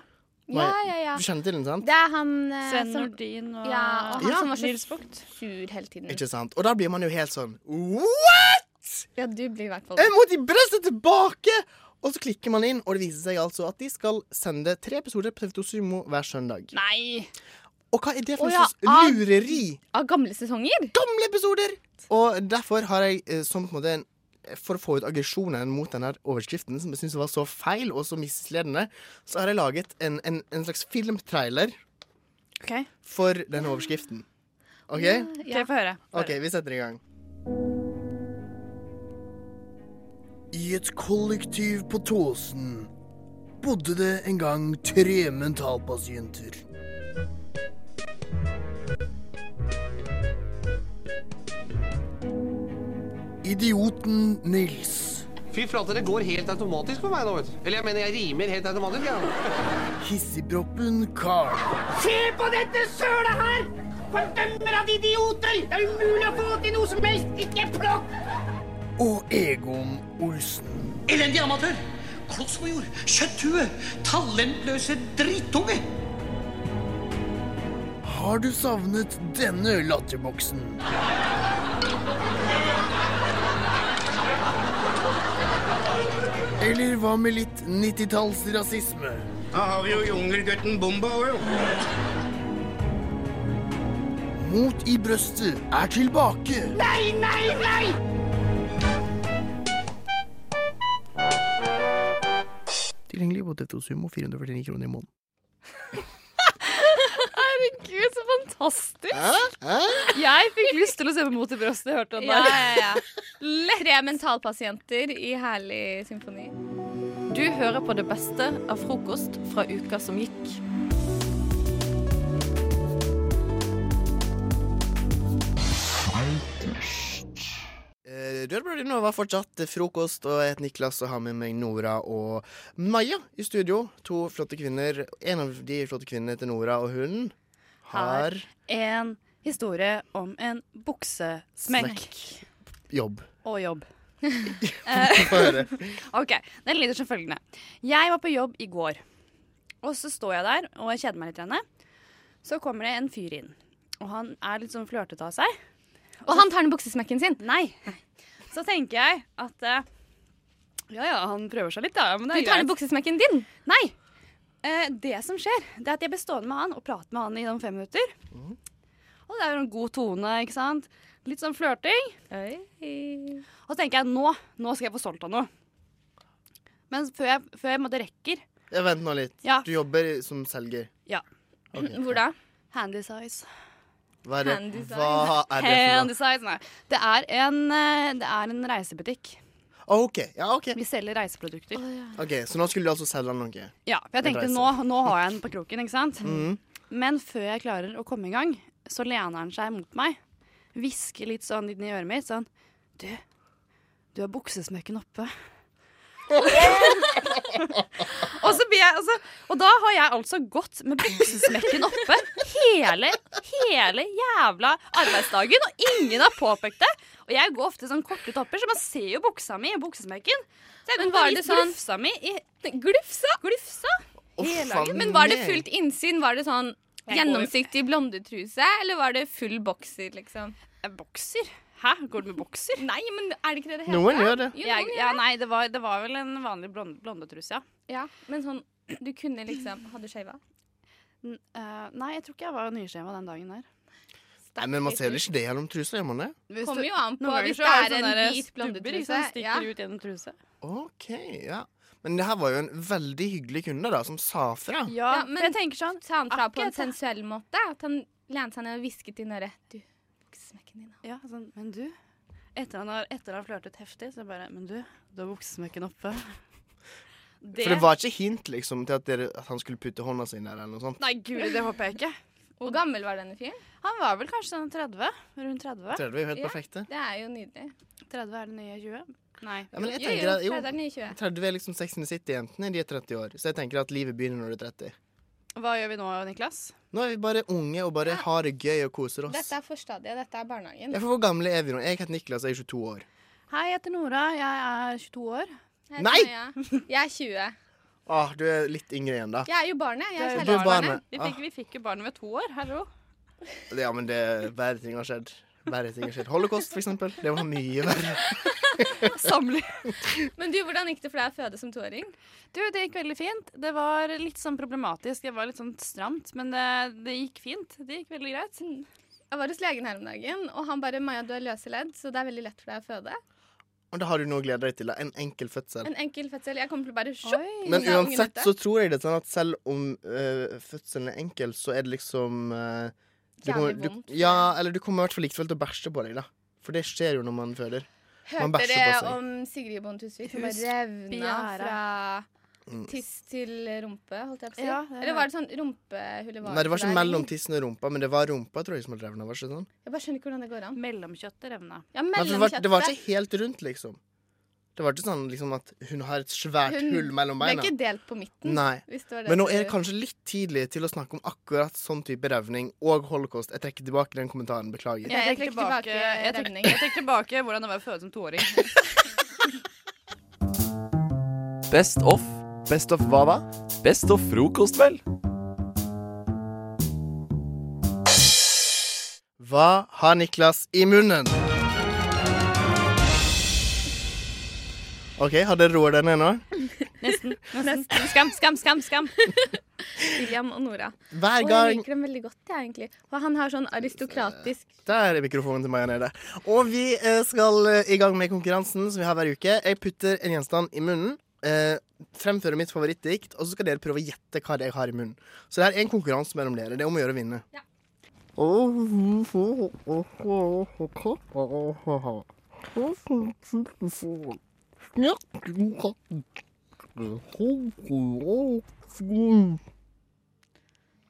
Speaker 15: Ja, ja, ja.
Speaker 14: Du kjenner til den, sant?
Speaker 15: Det er han eh,
Speaker 16: Sven
Speaker 15: som
Speaker 16: Nordin og,
Speaker 15: Ja, og han som var så
Speaker 16: Nils Vogt.
Speaker 15: sur hele tiden.
Speaker 14: Ikke sant? Og da blir man jo helt sånn What?!
Speaker 15: Ja, du blir i hvert fall
Speaker 14: Jeg må til brystet tilbake! Og så klikker man inn, og det viser seg altså at de skal sende tre episoder på TV2 Sumo hver søndag.
Speaker 15: Nei!
Speaker 14: Og hva er det for
Speaker 15: Å
Speaker 14: en
Speaker 15: ja,
Speaker 14: slags lureri?
Speaker 15: Av gamle sesonger?
Speaker 14: Gamle episoder! Og derfor har jeg eh, som på en måte en for å få ut aggresjonen mot denne overskriften, som jeg syns var så feil og så misledende, så har jeg laget en, en, en slags filmtrailer
Speaker 16: OK,
Speaker 14: for denne overskriften. OK?
Speaker 16: okay få høre. Få
Speaker 14: OK,
Speaker 16: høre.
Speaker 14: vi setter i gang. I et kollektiv på Tåsen bodde det en gang tre mentalpasienter. Idioten Nils.
Speaker 17: Fy flate, det går helt automatisk for meg nå, vet du. Eller jeg mener, jeg rimer helt automatisk, ja.
Speaker 14: Hissigproppen Carl.
Speaker 18: Se på dette sølet her! Fordømmer av idioter! Det er umulig å få til noe som helst! Ikke plokk!
Speaker 14: Og Egon Olsen.
Speaker 18: Elendig amatør! Kloss på jord! Kjøtthue! Talentløse drittunge!
Speaker 14: Har du savnet denne latterboksen? Eller hva med litt 90-tallsrasisme?
Speaker 18: Da har vi jo jungelgutten Bomba òg, jo.
Speaker 14: Mot i brøstet er tilbake.
Speaker 18: Nei, nei, nei!
Speaker 14: Tilgjengelig på TV2 Sumo 449 kroner i måneden.
Speaker 16: Herregud, så fantastisk!
Speaker 14: Hæ?
Speaker 16: Jeg fikk lyst til å se på Mot i brøstet, jeg hørte den
Speaker 15: Ja,
Speaker 16: der.
Speaker 15: ja, ja. Tre mentalpasienter i herlig symfoni.
Speaker 16: Du hører på det beste av frokost fra uka som gikk.
Speaker 14: Eh, Du er på Radio Nova fortsatt eh, frokost, og jeg heter Niklas og har med meg Nora og Maja i studio. To flotte kvinner. En av de flotte kvinnene heter Nora, og hun har
Speaker 16: En historie om en buksesmekk
Speaker 14: jobb.
Speaker 16: og jobb.
Speaker 14: Få høre.
Speaker 16: OK. Den lyder som følgende. Jeg var på jobb i går. Og så står jeg der og jeg kjeder meg litt. Rene. Så kommer det en fyr inn. Og han er litt sånn flørtete av seg. Og han tar ned buksesmekken sin? Nei. Så tenker jeg at eh, Ja ja, han prøver seg litt, da. Men det er
Speaker 15: Du tar ned
Speaker 16: buksesmekken din? Nei. Eh, det som skjer, det er at jeg blir stående med han og prate med han i noen fem minutter. Og det er jo en god tone, ikke sant? Litt sånn flørting. Og så tenker jeg nå, nå skal jeg få solgt han noe. Men før jeg, før jeg måtte rekker
Speaker 14: Ja, vent nå litt.
Speaker 16: Ja.
Speaker 14: Du jobber som selger.
Speaker 16: Ja.
Speaker 14: Ok.
Speaker 16: Hvor da? Handy size.
Speaker 14: Hva er det,
Speaker 16: Handy size.
Speaker 14: hva er det for
Speaker 16: Handy
Speaker 14: noe?
Speaker 16: size, nei. Det er en, eh, det er en reisebutikk.
Speaker 14: OK, ja, ok.
Speaker 16: Vi selger reiseprodukter.
Speaker 14: Ok, Så nå skulle du altså selge noe?
Speaker 16: Ja, for jeg
Speaker 14: En
Speaker 16: tenkte
Speaker 14: reise.
Speaker 16: nå, nå har jeg den på kroken, ikke sant?
Speaker 14: Mhm.
Speaker 16: Men før jeg klarer å komme i gang, så lener han seg mot meg. Hvisker litt sånn inn i øret mitt sånn Du, du har buksesmekken oppe. og så blir jeg altså, Og da har jeg altså gått med buksesmekken oppe hele, hele jævla arbeidsdagen, og ingen har påpekt det. Og jeg går ofte i sånn korte topper, så man ser jo buksa mi i buksesmekken. Så jeg
Speaker 15: Men
Speaker 16: går
Speaker 15: var
Speaker 16: og
Speaker 15: det
Speaker 16: viser
Speaker 15: sånn-
Speaker 16: glufsa mi i Glufsa? Glufsa? Hele dagen.
Speaker 15: Men var det fullt innsyn? Var det sånn
Speaker 16: Jeg
Speaker 15: gjennomsiktig blondetruse, eller var det full bokser, liksom?
Speaker 16: Eh, Bokser? Hæ? Går du med bokser?
Speaker 15: Nei, men er det ikke det det heter?
Speaker 16: Noen
Speaker 14: gjør det.
Speaker 15: Jo,
Speaker 16: Jeg,
Speaker 15: noen
Speaker 16: ja,
Speaker 15: gjør det.
Speaker 16: nei, det var, det var vel en vanlig blond, blondetruse, ja.
Speaker 15: Ja, men sånn, du kunne liksom Hadde du skeiva?
Speaker 16: N eh, nei, jeg tror ikke jeg var nyskjeva den dagen der.
Speaker 14: Nei, men man ser vel ikke det gjennom trusa, gjør man det?
Speaker 16: Hvis
Speaker 15: Kommer
Speaker 16: du-
Speaker 15: jo an på
Speaker 16: Noen ganger
Speaker 15: hvis
Speaker 16: så
Speaker 15: det sånn
Speaker 16: har
Speaker 15: er
Speaker 16: du
Speaker 15: en
Speaker 16: sånne der
Speaker 15: hvit blondetruse,
Speaker 16: stubber, ikke sant, Stikker
Speaker 15: ja.
Speaker 16: ut gjennom truse.
Speaker 14: OK, ja. Men det her var jo en veldig hyggelig kunde da, som sa fra.
Speaker 15: Ja, men jeg tenker sånn Sa han fra på en sensuell måte? At han lente seg ned og hvisket inn øret Du, buksesmekken din.
Speaker 16: Ja, sånn, men du Etter han har, etter han har flørtet heftig, så bare Men du, du har buksesmekken oppe. Det-
Speaker 14: For det var ikke hint liksom til at, dere, at han skulle putte hånda si inn der, eller noe sånt?
Speaker 16: Nei, guri, det håper jeg ikke.
Speaker 15: Hvor gammel var denne fyren?
Speaker 16: Han var vel kanskje sånn 30? Rundt 30?
Speaker 14: 30 er jo helt perfekt, det.
Speaker 15: Det er jo nydelig.
Speaker 16: 30 er det nye 20? Nei.
Speaker 14: Ja, men jeg tenker at, jo,
Speaker 15: tredje er den nye 20.
Speaker 14: 30 er liksom Sex and the City-jentene, de er 30 år. Så jeg tenker at livet begynner når du er 30.
Speaker 16: Hva gjør vi nå, Niklas?
Speaker 14: Nå er vi bare unge og bare har det gøy og koser oss.
Speaker 15: Dette er forstadiet, dette er barnehagen.
Speaker 14: Ja, for Hvor gamle er vi nå? Jeg heter Niklas, jeg er 22 år.
Speaker 16: Hei, jeg heter Nora. Jeg er 22 år.
Speaker 15: Jeg
Speaker 14: Nei!
Speaker 15: heter Maja. Jeg er 20.
Speaker 14: Ah, du er litt yngre igjen, da.
Speaker 15: Jeg er jo barnet. Jeg er
Speaker 14: Du er
Speaker 15: kjellerbarnet.
Speaker 14: barnet. Ah,
Speaker 16: vi fikk jo barnet ved to år. Hallo.
Speaker 14: ja, men det verre ting har skjedd. Verre ting har skjedd. Holocaust, for eksempel. Det var mye verre.
Speaker 16: Samling.
Speaker 15: Men du, hvordan gikk det for deg å føde som toåring?
Speaker 16: Du, det gikk veldig fint. Det var litt sånn problematisk. Det var litt sånn stramt, men det, det gikk fint. Det gikk veldig greit.
Speaker 15: Jeg var hos legen her om dagen, og han bare 'Maja, du har løse ledd, så det er veldig lett for deg å føde'.
Speaker 14: Og da har du noe å glede deg til. da. En enkel fødsel.
Speaker 15: En enkel fødsel. Jeg kommer til å bare sjopp,
Speaker 14: Men
Speaker 15: så er ungen
Speaker 14: uansett
Speaker 15: ute.
Speaker 14: så tror jeg det er sånn at selv om øh, fødselen er enkel, så er det liksom øh, du
Speaker 15: Jævlig
Speaker 14: kommer- du,
Speaker 15: vondt.
Speaker 14: Ja, eller du kommer i hvert fall likevel til å bæsje på deg, da. For det skjer jo når man føder. Man
Speaker 15: Hørte
Speaker 14: bæsjer på seg.
Speaker 15: dere om Sigrid Bonde Tusvik som bare
Speaker 16: Hus-
Speaker 15: revna
Speaker 16: Bjære.
Speaker 15: fra
Speaker 14: Mm.
Speaker 15: tiss til rumpe, holdt jeg på å si?
Speaker 16: Ja, det er
Speaker 15: Eller var det sånn rumpehull i
Speaker 14: Nei, det var ikke
Speaker 15: der?
Speaker 14: mellom tissen og rumpa, men det var rumpa tror jeg som hadde revna. Var det ikke sånn?
Speaker 15: Jeg bare skjønner ikke hvordan det går an.
Speaker 16: Mellomkjøttet revna.
Speaker 15: Ja,
Speaker 14: Nei, for det, var, det var
Speaker 15: mellomkjøttet.
Speaker 14: ikke helt rundt, liksom. Det var ikke sånn liksom, at hun har et svært
Speaker 15: Hun
Speaker 14: hull mellom beina.
Speaker 15: ble ikke delt på midten.
Speaker 14: Nei.
Speaker 15: Hvis det var det
Speaker 14: Men nå
Speaker 15: du-
Speaker 14: er det kanskje litt tidlig til å snakke om akkurat sånn type revning og holocaust. Jeg trekker tilbake den kommentaren. Beklager.
Speaker 15: Ja, jeg
Speaker 16: Jeg trekker
Speaker 15: trekker tilbake
Speaker 16: tilbake, jeg trekker,
Speaker 15: redning.
Speaker 16: jeg trekker tilbake hvordan det var å føde som toåring.
Speaker 1: Best of.
Speaker 14: Best of hva da?
Speaker 1: Best of frokost, vel.
Speaker 14: Hva har Niklas i munnen? OK, har dere roet dere ned nå?
Speaker 16: Nesten. nesten. Skam, skam, skam. skam.
Speaker 15: William og Nora.
Speaker 14: Hver
Speaker 15: Og jeg
Speaker 14: gang-
Speaker 15: liker dem veldig godt, jeg, egentlig. For han har sånn aristokratisk
Speaker 14: Der er mikrofonen til Maja nede. Og vi eh, skal eh, i gang med konkurransen som vi har hver uke. Jeg putter en gjenstand i munnen, eh, fremfører mitt favorittdikt, og så skal dere prøve å gjette hva det er jeg har i munnen. Så det her er en konkurranse mellom dere. Det er om å gjøre å vinne.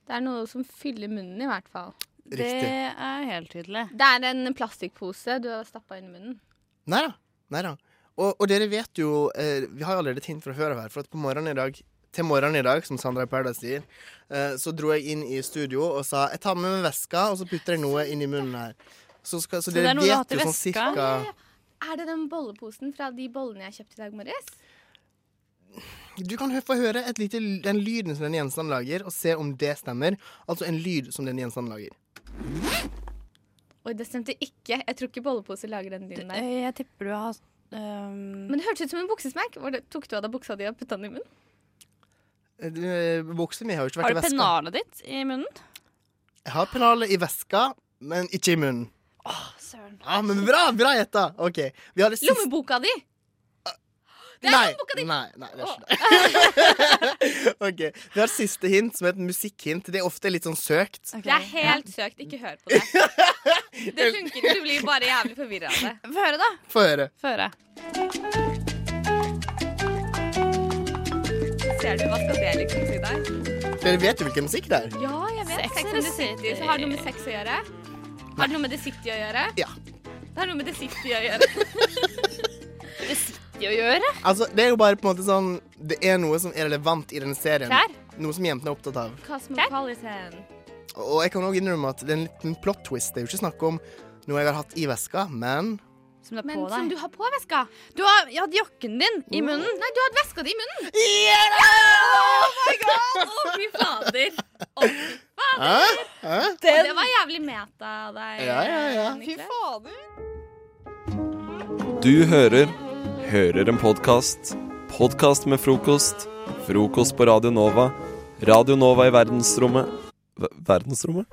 Speaker 15: Det er noe som fyller munnen, i hvert fall.
Speaker 14: Riktig. Det
Speaker 15: er helt tydelig. Det er en plastikkpose du har stappa inn i munnen.
Speaker 14: Nei da. Nei da. Og, og dere vet jo eh, Vi har jo allerede et hint fra før av her, for at på morgenen i dag til morgenen i dag, som Sandra i Paradise sier, eh, så dro jeg inn i studio og sa jeg tar med meg veska, og så putter jeg noe inn i munnen her. Så, skal, så
Speaker 15: Så det er
Speaker 14: dere
Speaker 15: noe du har
Speaker 14: vet
Speaker 15: til
Speaker 14: jo sånn
Speaker 15: veska?
Speaker 14: cirka
Speaker 15: Ja, ja, ja. Er det den bolleposen fra de bollene jeg kjøpte i dag morges?
Speaker 14: Du kan hø- få høre et lite, l- den lyden som den gjenstanden lager, og se om det stemmer. Altså en lyd som den gjenstanden lager.
Speaker 15: Oi, det stemte ikke. Jeg tror ikke bollepose lager den lyden der.
Speaker 16: eh, Jeg tipper du har ehm,
Speaker 15: Men det hørtes ut som en buksesmekk. Var det- Tok du av deg buksa di og putta den i munnen?
Speaker 14: Eh, Buksa mi har jo ikke
Speaker 16: Har
Speaker 14: vært i
Speaker 16: du
Speaker 14: veska.
Speaker 16: pennalet ditt i munnen?
Speaker 14: Jeg har pennalet i veska, men ikke i munnen.
Speaker 16: Søren.
Speaker 14: Ja, men bra, bra gjetta! OK. Vi har det siste
Speaker 15: Lommeboka di!
Speaker 14: Nei, nei, nei, det er ikke det. OK. Vi har siste hint, som er et musikkhint. Det er ofte litt sånn søkt.
Speaker 15: Det er helt søkt. Ikke hør på det. Det funker ikke. Du blir bare jævlig forvirra av det.
Speaker 16: Få høre, da.
Speaker 14: Få høre.
Speaker 16: Føre.
Speaker 15: Ser du, hva skal det liksom si der?
Speaker 14: Dere vet jo hvilken musikk det er.
Speaker 15: Ja, jeg vet. Sex and the City. Så har det noe med sex å gjøre? Har det noe med The City å gjøre?
Speaker 14: Ja.
Speaker 15: Det har noe med The City å gjøre. The City å gjøre?
Speaker 14: Altså, Det er jo bare på en måte sånn Det er noe som er relevant i denne serien.
Speaker 15: Klær?
Speaker 14: Noe som jentene er opptatt av.
Speaker 15: Cosmopolitan.
Speaker 14: Og jeg kan også innrømme at det er en liten plot twist. Det er jo ikke snakk om noe jeg har hatt i veska, men
Speaker 16: Som du har
Speaker 15: Men
Speaker 16: på deg.
Speaker 15: som du har på veska.
Speaker 16: Du har jeg hadde jakken din i munnen.
Speaker 15: Nei, du hadde veska di i munnen.
Speaker 14: Yeah!
Speaker 15: Oh my god! Å, fy fader. Å, fy
Speaker 14: Hæ?
Speaker 15: fader.
Speaker 14: Hæ?
Speaker 15: Og Det var jævlig meta av deg.
Speaker 14: Ja, ja, ja.
Speaker 15: Fy fader.
Speaker 1: Du hører Hører en podkast. Podkast med frokost. Frokost på Radio Nova. Radio Nova i verdensrommet Ver- Verdensrommet?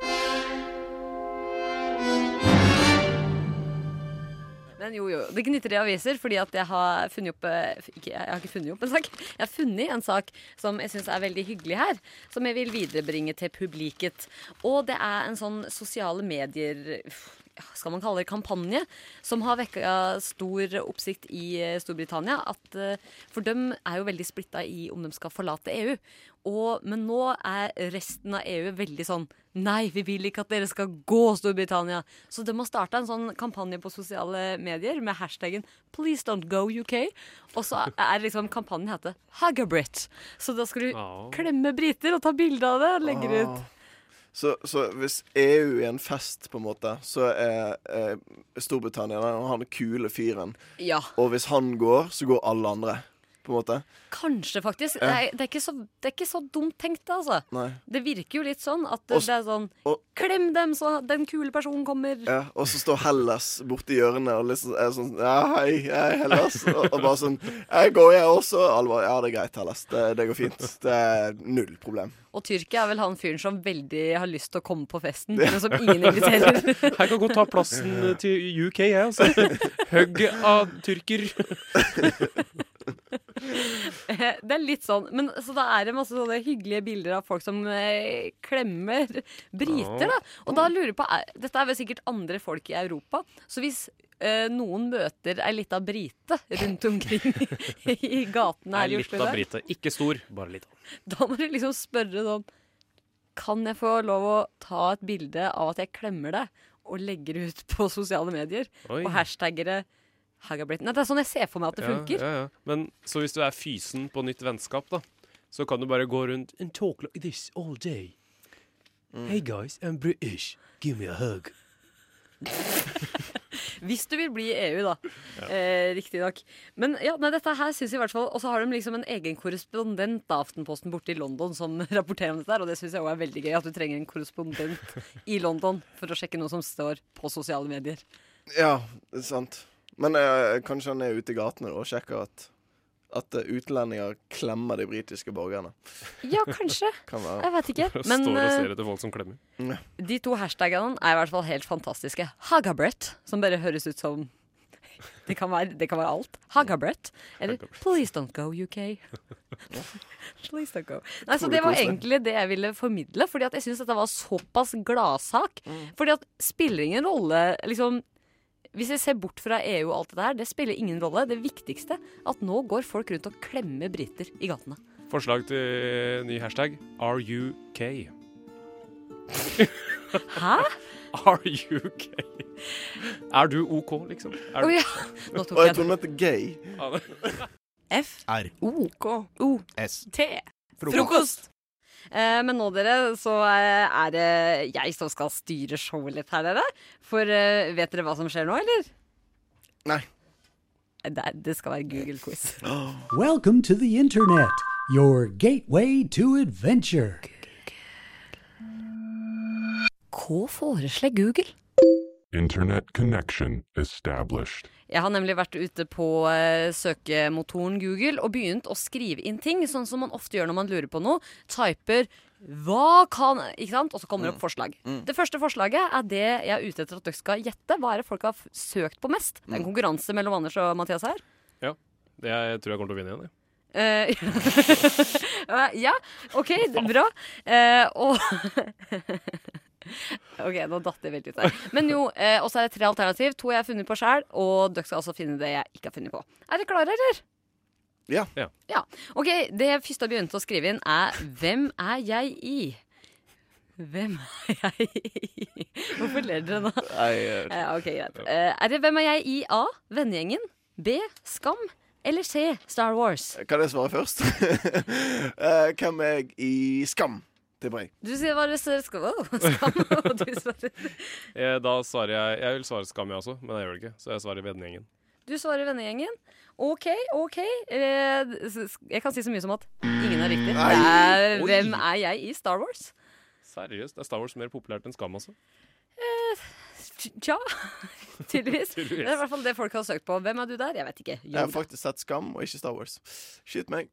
Speaker 19: Men jo, jo, det gnitter i aviser, fordi at jeg har funnet opp eh, ikke, Jeg har ikke funnet opp en sak. Jeg har funnet en sak som jeg syns er veldig hyggelig her. Som jeg vil viderebringe til publiket. Og det er en sånn sosiale medier uff, ja, skal man kalle det kampanje, som har vekka stor oppsikt i eh, Storbritannia. At, eh, for dem er jo veldig splitta i om de skal forlate E EU. Og, men nå er resten av EU veldig sånn Nei, vi vil ikke at dere skal gå, Storbritannia! Så de har starta en sånn kampanje på sosiale medier med hashtaggen 'Please don't go UK'. Og så er liksom kampanjen heter 'Hagabrit'. Så da skal du klemme briter og ta bilde av det og legge det ut.
Speaker 20: Ah. Så, så hvis EU er en fest, på en måte, så er eh, Storbritannia den han kule fyren.
Speaker 19: Ja.
Speaker 20: Og hvis han går, så går alle andre, på en måte.
Speaker 19: Kanskje, faktisk.
Speaker 20: Ja.
Speaker 19: Det er, det, er ikke så, det er ikke så dumt tenkt, det, altså.
Speaker 20: Nei.
Speaker 19: Det virker jo litt sånn at
Speaker 20: Og s-
Speaker 19: det er sånn Klem dem, så den kule personen kommer.
Speaker 20: Ja, og så står Hellas borti hjørnet og liksom er sånn Ja, hei, hei, Hellas. Og, og bare sånn Jeg går, jeg også. Og Alle bare Ja, det er greit, Hellas. Det, det går fint. Det er null problem.
Speaker 19: Og Tyrkia er vel han fyren som veldig har lyst til å komme på festen, men som ingen inviterer.
Speaker 3: Jeg kan godt ta plassen til UK, jeg, altså. Hugg av tyrker.
Speaker 19: Eh, Det er litt sånn, men så da er det masse sånne hyggelige bilder av folk som eh, klemmer briter, da. Og da lurer jeg på, er, dette er vel sikkert andre folk i Europa, så hvis eh, noen møter ei lita brite rundt omkring i, i gatene her i
Speaker 3: Litt
Speaker 19: Oslo
Speaker 3: av
Speaker 19: i dag,
Speaker 3: brite. Ikke stor, bare litt.
Speaker 19: da må du liksom spørre sånn Kan jeg få lov å ta et bilde av at jeg klemmer deg, og legger det ut på sosiale medier?
Speaker 3: Oi.
Speaker 19: Og hashtagger det Hagabrit. Nei, det er sånn jeg ser for meg at det funker.
Speaker 3: Ja, ja, ja. Men så hvis du er fysen på nytt vennskap, da, så kan du bare gå rundt and talk like this all day. Hey guys, I'm British. Give me a hug.
Speaker 19: Hvis du vil bli i EU, da. Eh, Riktignok. Men ja, nei, dette her syns jeg i hvert fall Og så har de liksom en egen korrespondent av Aftenposten borte i London som rapporterer om dette her, og det syns jeg òg er veldig gøy. At du trenger en korrespondent i London for å sjekke noe som står på sosiale medier.
Speaker 20: Ja, det er sant. Men eh, kanskje han er ute i gatene da og sjekker at, at eh, utlendinger klemmer de britiske borgerne.
Speaker 19: Ja, kanskje.
Speaker 20: Kan være.
Speaker 19: Jeg vet ikke. Men eh,
Speaker 20: etter folk som klemmer.
Speaker 19: de to hashtagene er i hvert fall helt fantastiske. Hagabrett, som bare høres ut som det kan, være, det kan være alt. Hagabrett. Eller Please don't go, UK. Please don't go. Nei,
Speaker 16: Utrolig
Speaker 19: så Det var
Speaker 16: koselig.
Speaker 19: egentlig det jeg ville formidle. Fordi at jeg syns dette var såpass gladsak. Fordi at spiller ingen rolle liksom, Hvis jeg ser bort fra EU og alt det der, det spiller ingen rolle. Det viktigste at nå går folk rundt og klemmer briter i gatene.
Speaker 3: Forslag til ny hashtag RUK.
Speaker 19: Hæ?
Speaker 3: RUK. Er du OK, liksom? Er
Speaker 19: Å
Speaker 3: du...
Speaker 19: ja. Nå tok Å, jeg jeg
Speaker 20: trodde den het gay.
Speaker 19: F.
Speaker 20: R.
Speaker 19: O. K. O.
Speaker 20: S.
Speaker 19: T.
Speaker 20: Frokost.
Speaker 19: Eh, men nå, dere, så eh, er det jeg som skal styre showet litt her, dere. For eh, vet dere hva som skjer nå, eller?
Speaker 20: Nei.
Speaker 19: Det, det skal være Google-quiz.
Speaker 21: Welcome to the internet, your gateway to adventure.
Speaker 19: Hva foreslår Google?
Speaker 11: Internet connection established.
Speaker 19: Jeg har nemlig vært ute på eh, søkemotoren Google og begynt å skrive inn ting, sånn som man ofte gjør når man lurer på noe. Typer 'hva kan' ikke sant? Og så kommer det opp forslag. Det første forslaget er det jeg er ute etter at dere skal gjette. Hva er det folk har f- søkt på mest? Det er en konkurranse mellom Anders og Mathias her.
Speaker 3: Ja. Jeg tror jeg kommer til å vinne igjen. jeg.
Speaker 19: Eh, ja, OK, det er bra. Eh, og OK, nå datt det veldig ut der. Men jo, eh, også er det tre alternativ. To jeg har funnet på sjøl, og dere skal altså finne det jeg ikke har funnet på. Er dere klare, eller?
Speaker 20: Ja.
Speaker 19: Ja. OK, det jeg første jeg begynte å skrive inn, er Hvem er jeg i? Hvem er jeg i? Hvorfor ler dere nå?
Speaker 20: Nei, jeg-
Speaker 19: Eh, ok, greit. Eh, er det Hvem er jeg i? A. Vennegjengen. B. Skam. Eller C. Star Wars.
Speaker 20: Kan jeg svare først? Eh, Hvem er jeg i Skam? Tipper jeg.
Speaker 19: Du sier bare så- skam, skam, og du svarer,
Speaker 3: Eh, Da svarer jeg Jeg vil svare Skam, jeg også, men jeg gjør det ikke. Så jeg svarer Vennegjengen.
Speaker 19: du svarer vennegjengen. OK, OK. Eh, s- s- Jeg kan si så mye som at ingen er riktig. Det er,
Speaker 3: Nei.
Speaker 19: hvem er jeg i Star Wars?
Speaker 3: Seriøst, er Star Wars mer populært enn Skam, altså?
Speaker 19: Eh, Tja, tydeligvis. Det
Speaker 20: Tydeligvis.
Speaker 19: er i hvert fall det folk har søkt på. Hvem er du der? Jeg vet ikke.
Speaker 20: Jeg har faktisk sett Skam og ikke Star Wars. Skyt meg.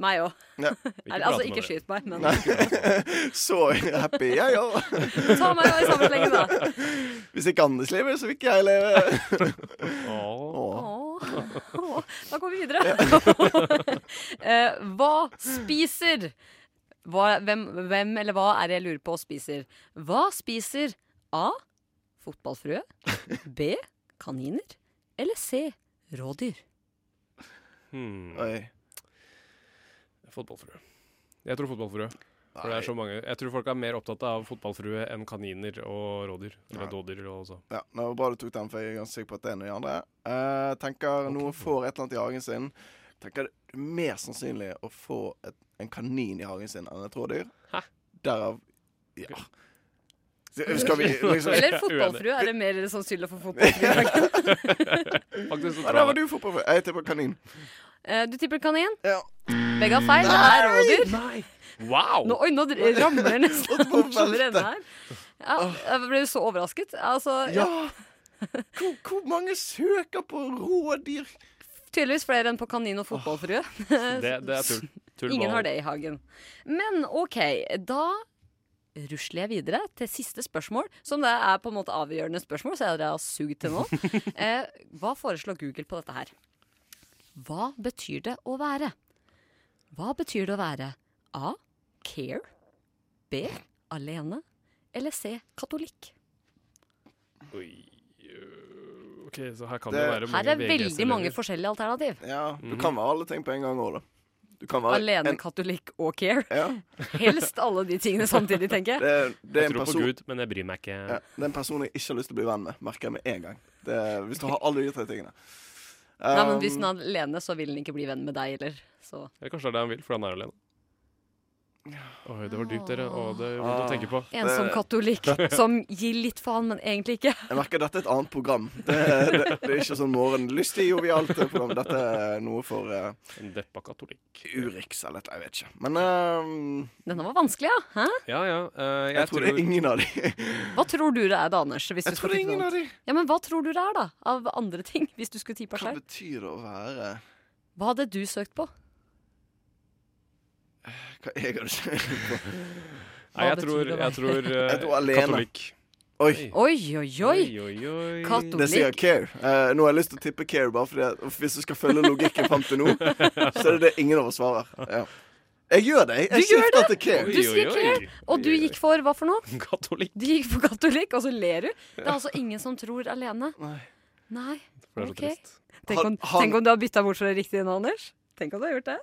Speaker 19: Meg òg.
Speaker 20: Ja.
Speaker 19: Eller, Altså, ikke skyt meg, men
Speaker 20: Så happy jeg ja, òg.
Speaker 19: Ta meg i samme slenge, da.
Speaker 20: Hvis ikke Anders lever, så vil ikke jeg leve.
Speaker 19: Åh. Da går vi videre. Eh, hva spiser hva, hvem, hvem eller hva er det jeg lurer på spiser? Hva spiser A. Fotballfrø. B. Kaniner. Eller C. Rådyr.
Speaker 3: Hmm. Fotballfrue. Jeg tror fotballfrue. For det er så mange. Jeg tror folk er mer opptatt av fotballfrue enn kaniner og rådyr. Eller
Speaker 20: Ja.
Speaker 3: dådyr også.
Speaker 20: Ja, det var bra du tok den, for jeg er ganske sikker på at det er noe i andre. Eh, tenker noen får et eller annet i hagen sin. Tenker det er mer sannsynlig å få et, en kanin i hagen sin enn et rådyr.
Speaker 3: Hæ?
Speaker 20: Derav ja. Skal vi liksom
Speaker 19: Eller fotballfrue. Er det mer sannsynlig å få fotballfrue?
Speaker 20: Faktisk,
Speaker 19: så tror
Speaker 20: ja,
Speaker 19: jeg
Speaker 20: der var
Speaker 19: det.
Speaker 20: du fotballfrue. Jeg tipper kanin.
Speaker 19: Eh, Du tipper kanin? Begge har feil. Det er rådyr.
Speaker 3: Wow!
Speaker 19: Nå, oi, nå dr- ramler det nesten
Speaker 20: Nå
Speaker 19: bort over
Speaker 20: velter.
Speaker 19: ende her. Ja, jeg ble så overrasket. Altså,
Speaker 20: Ja. Hvor, hvor mange søker på rådyr?
Speaker 19: Tydeligvis flere enn på kanin og fotballfrue.
Speaker 3: Det, det er tull. tull
Speaker 19: Ingen
Speaker 3: ball.
Speaker 19: har det i hagen. Men OK, da rusler jeg videre til siste spørsmål, som det er på en måte avgjørende spørsmål, så jeg dere har sugd til nå. Eh, hva foreslår Google på dette her? Hva betyr det å være? Hva betyr det å være A. Care. B. Alene. Eller C. Katolikk.
Speaker 3: Oi. øh, OK, så her kan det,
Speaker 20: Det-
Speaker 3: være mange
Speaker 19: Her er veldig mange
Speaker 3: VGS-elever.
Speaker 19: forskjellige alternativ.
Speaker 20: Ja,
Speaker 3: Mhm.
Speaker 20: Du kan være alle ting på en gang òg, da. Du kan være
Speaker 19: Alene,
Speaker 20: en-
Speaker 19: katolikk og care.
Speaker 20: Ja.
Speaker 19: Helst alle de tingene samtidig, tenker jeg.
Speaker 20: Det, er- det er
Speaker 3: Jeg
Speaker 20: en
Speaker 3: tror på
Speaker 20: person
Speaker 3: Gud, men jeg bryr meg ikke.
Speaker 20: Ja, Eh, det er en person jeg ikke har lyst til å bli venn med, merker jeg med en gang. Det, er- hvis du har alle de tre tingene.
Speaker 19: Nei, men Hvis
Speaker 20: Um,
Speaker 19: den er alene, så vil den ikke bli venn med deg heller. Så.
Speaker 3: Eller kanskje det er det han vil, fordi han er alene. Oi, det var dypt, dere. Og det er
Speaker 20: Ah.
Speaker 3: vondt å tenke på.
Speaker 19: En som katolikk som gir litt faen, men egentlig ikke.
Speaker 20: Jeg merker dette er et annet program. Det, det, det er ikke sånn morgenlystig, jovialt program. Dette er noe for uh,
Speaker 3: En deppa katolikk.
Speaker 20: Urix eller et jeg vet ikke. Men ehm,
Speaker 19: Denne var vanskelig, ja. Hæ?
Speaker 3: Ja, ja. eh,
Speaker 20: jeg, tror det er ingen av de.
Speaker 19: Hva tror du det er, da, Anders? Hvis
Speaker 20: Jeg
Speaker 19: du
Speaker 20: tror
Speaker 19: skulle tippe
Speaker 20: det er ingen
Speaker 19: noe
Speaker 20: av
Speaker 19: annet? Ja, men Hva tror du det er, da? Av andre ting? Hvis du skulle tippa
Speaker 20: Hva
Speaker 19: selv?
Speaker 20: betyr det å være
Speaker 19: Hva hadde du søkt på?
Speaker 20: Hva jeg hadde skjønt på?
Speaker 3: Nei, jeg tror, jeg tror, eh,
Speaker 20: Jeg tror alene.
Speaker 3: katolikk.
Speaker 20: Oi.
Speaker 19: Oi, oi, oi. Katolikk.
Speaker 20: Det sier care. Eh, nå har jeg lyst til å tippe care, bare fordi at, hvis du skal følge logikken fram til nå, så er det det ingen av oss svarer. Ja. Jeg gjør det. Jeg
Speaker 19: Du gjør
Speaker 20: skifter
Speaker 19: det!
Speaker 20: til care.
Speaker 19: Du sier care, og du gikk for hva for noe?
Speaker 3: Katolikk.
Speaker 19: Du gikk for katolikk, og så ler du? Det er altså ingen som tror alene.
Speaker 20: Nei.
Speaker 19: Nei.
Speaker 3: For det er så
Speaker 19: OK.
Speaker 3: trist.
Speaker 19: Tenk om,
Speaker 3: Han- han-
Speaker 19: tenk om du har bytta bort fra det riktige nå, Anders. Tenk om du har gjort det.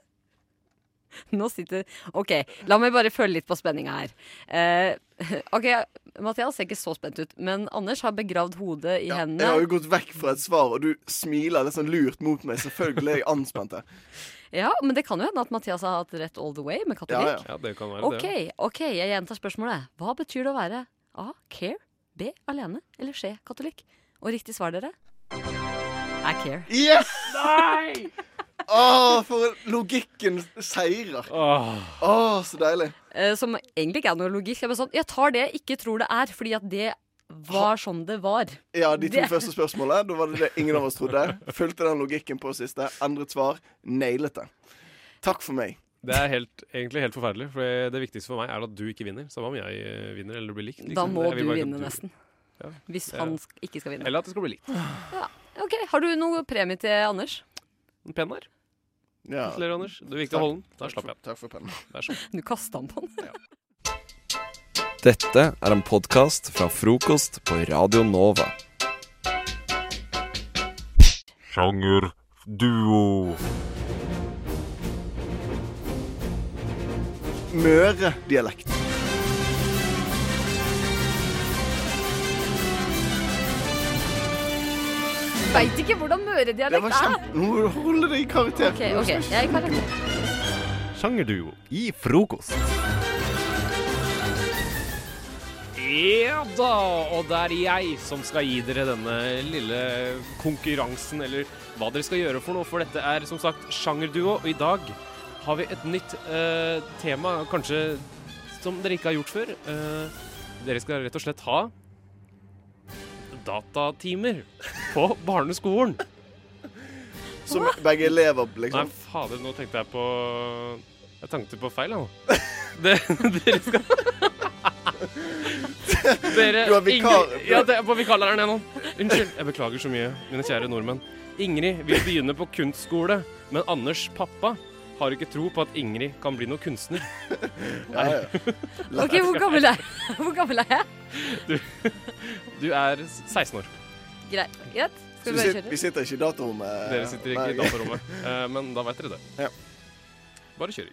Speaker 19: Nå sitter OK, la meg bare følge litt på spenninga her. Eh, OK, Mathias ser ikke så spent ut, men Anders har begravd hodet i
Speaker 20: Jeg har jo
Speaker 19: hendene.
Speaker 20: gått vekk fra et svar, og du smiler litt sånn lurt mot meg. Selvfølgelig er jeg anspent. her.
Speaker 19: Ja, men det kan jo hende at Mathias har hatt rett all the way med
Speaker 20: Ja,
Speaker 19: katolikk.
Speaker 20: ja. ja, det kan
Speaker 19: OK, ok, jeg gjentar spørsmålet. Hva betyr det å være A. Care, B. Alene eller C. Katolikk? Og riktig svar, dere, er care.
Speaker 20: Yes! Nei! Åh, for logikken seirer.
Speaker 3: Åh,
Speaker 20: så deilig.
Speaker 19: Eh, Som egentlig ikke er noe logikk. Jeg, bare sånn, jeg tar det jeg ikke tror det er, fordi at det var sånn det var.
Speaker 20: Ja, de to
Speaker 19: Det-
Speaker 20: første spørsmålene, da var det det ingen av oss trodde. Fulgte den logikken på siste, endret svar, nailet det. Takk for meg.
Speaker 3: Det er helt, egentlig helt forferdelig, for det viktigste for meg er at du ikke vinner. Samme om jeg eh, vinner eller blir likt.
Speaker 19: Da
Speaker 3: liksom.
Speaker 19: må
Speaker 3: Jeg vil
Speaker 19: du
Speaker 3: bare ikke at
Speaker 19: vinne, nesten.
Speaker 3: Ja.
Speaker 19: Hvis
Speaker 3: Ja.
Speaker 19: han sk- ikke skal vinne.
Speaker 3: Eller at det skal bli likt.
Speaker 19: Ok, Har du noe premie til Anders?
Speaker 3: En penn her.
Speaker 20: Ja.
Speaker 3: Gratulerer, Anders. Det er viktig å
Speaker 20: Takk.
Speaker 3: holde den. Der slapp jeg den.
Speaker 20: Takk for pennen.
Speaker 3: Vær så god.
Speaker 19: Du kasta den på den.
Speaker 1: Dette er en podkast fra frokost på Radio Nova.
Speaker 11: Sjangerduo.
Speaker 20: Møre-dialekt.
Speaker 19: Veit ikke hvordan
Speaker 20: Det var
Speaker 19: møredialekt er.
Speaker 20: kjempe... Nå må du holde deg i karakter.
Speaker 19: Ok, ok, jeg er i karakter.
Speaker 22: Sjangerduo i frokost.
Speaker 3: Ja da, og det er jeg som skal gi dere denne lille konkurransen, eller hva dere skal gjøre for noe, for dette er som sagt sjangerduo, og i dag har vi et nytt eh, tema, kanskje som dere ikke har gjort før. Eh, dere skal rett og slett ha datatimer på barneskolen.
Speaker 20: Som begge lever,
Speaker 3: Nei,
Speaker 20: liksom.
Speaker 3: fader, nå tenkte jeg på Jeg tenkte på feil, jeg nå. Det, dere skal Dere
Speaker 5: Du har vikar-
Speaker 3: Ingrid- Ja, det er på vikarlæreren jeg nå. Unnskyld. Jeg beklager så mye, mine kjære nordmenn. Ingrid vil begynne på kunstskole, men Anders pappa har ikke tro på at Ingrid kan bli noe kunstner.
Speaker 20: Ja,
Speaker 3: Nei.
Speaker 19: OK, hvor gammel er, hvor gammel er jeg?
Speaker 3: Du, du er 16 år.
Speaker 19: Greit. Greit. Skal
Speaker 20: Så
Speaker 19: vi
Speaker 20: vi,
Speaker 19: bare
Speaker 20: sitter,
Speaker 19: kjøre?
Speaker 20: vi sitter ikke i eh, datarommet.
Speaker 3: Dere sitter ikke i
Speaker 20: Nei.
Speaker 3: datarommet, eh, men da veit dere det. Bare kjør.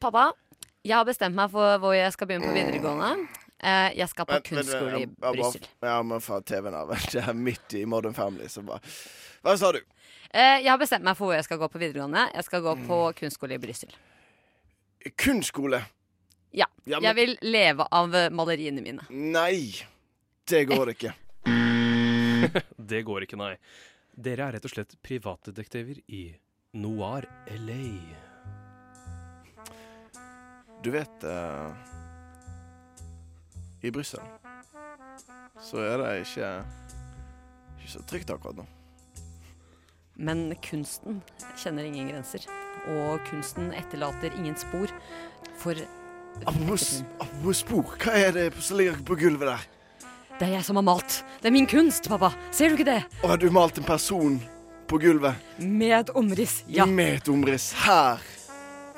Speaker 19: Pappa, jeg har bestemt meg for hvor jeg skal begynne på videregående. Eh, Jeg skal på
Speaker 20: Vent, vent,
Speaker 19: kunstskole i
Speaker 20: jeg- jeg bare-
Speaker 19: Brussel.
Speaker 20: Ja, men faen, TV-en er vel det er midt i Modern Family, så bare Hva sa du?
Speaker 19: Eh, Jeg har bestemt meg for hvor jeg skal gå på videregående. Jeg skal gå på kunstskole i Brussel.
Speaker 20: Kunstskole?
Speaker 19: Ja.
Speaker 20: Ja, men-
Speaker 19: Jeg vil leve av eh, maleriene mine. Eh,
Speaker 20: Nei. Det går ikke.
Speaker 3: Det går ikke, nei. Dere er rett og slett privatdetektiver i Noir LA.
Speaker 20: Du vet eh, I Brussel så er det ikke ikke så trygt akkurat nå.
Speaker 19: Men kunsten kjenner ingen grenser. Og kunsten etterlater ingen spor. For
Speaker 20: Apropos apropos spor, hva er det som ligger på gulvet der?
Speaker 19: det er jeg som har malt. Det er min kunst, pappa. Ser du ikke det?
Speaker 20: Å, har du malt en person på gulvet?
Speaker 19: Med et omriss, ja.
Speaker 20: Med et omriss. Her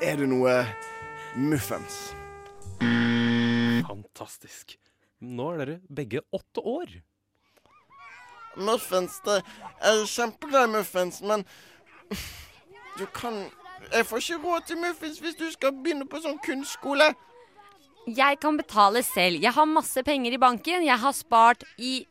Speaker 20: er det noe muffens.
Speaker 3: Fantastisk. Nå er dere begge åtte år.
Speaker 20: Muffins, det er kjempeglad i muffins, men du kan Jeg får ikke råd til muffins hvis du skal begynne på sånn kunstskole.
Speaker 19: Jeg kan betale selv. Jeg har masse penger i banken. Jeg har spart i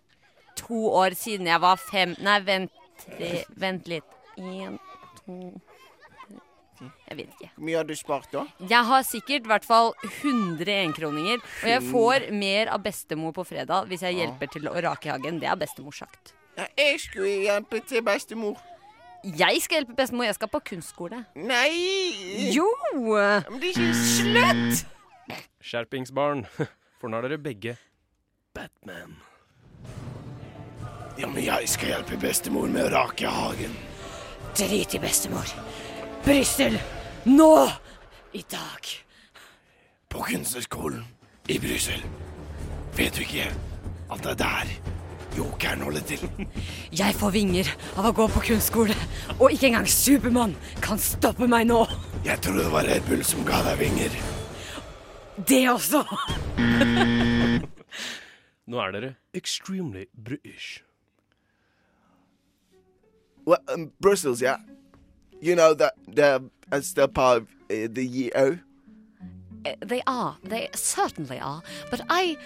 Speaker 19: to år siden jeg var fem Nei, vent, tre- vent litt. Én, to tre. Jeg vet ikke.
Speaker 20: Hvor mye har du spart, da?
Speaker 19: Jeg har sikkert i hvert fall 100 enkroninger. Og jeg får mer av bestemor på fredag hvis jeg hjelper til å rake hagen. Det er bestemors sagt.
Speaker 20: Jeg skulle hjelpe til bestemor.
Speaker 19: Jeg skal hjelpe bestemor. Jeg skal på kunstskole.
Speaker 20: Nei!
Speaker 19: Jo!
Speaker 20: Men det er ikke
Speaker 19: Slutt!
Speaker 3: Skjerpingsbarn. For nå er dere begge Batman.
Speaker 20: Ja, men jeg skal hjelpe bestemor med å rake hagen.
Speaker 19: Drit i bestemor. Brussel! Nå! I dag.
Speaker 20: På kunstnerskolen i Brussel. Vet du ikke at det er der jokeren holder til?
Speaker 19: Jeg får vinger av å gå på kunstskole, og ikke engang Supermann kan stoppe meg nå.
Speaker 20: Jeg tror det var Red Bull som ga deg vinger.
Speaker 19: Det også.
Speaker 3: Nå er dere extremely British.
Speaker 20: Well, um, Brussels, yeah. You know that they're a step part of uh, the EU.
Speaker 19: Eh, They are. They certainly are. But I.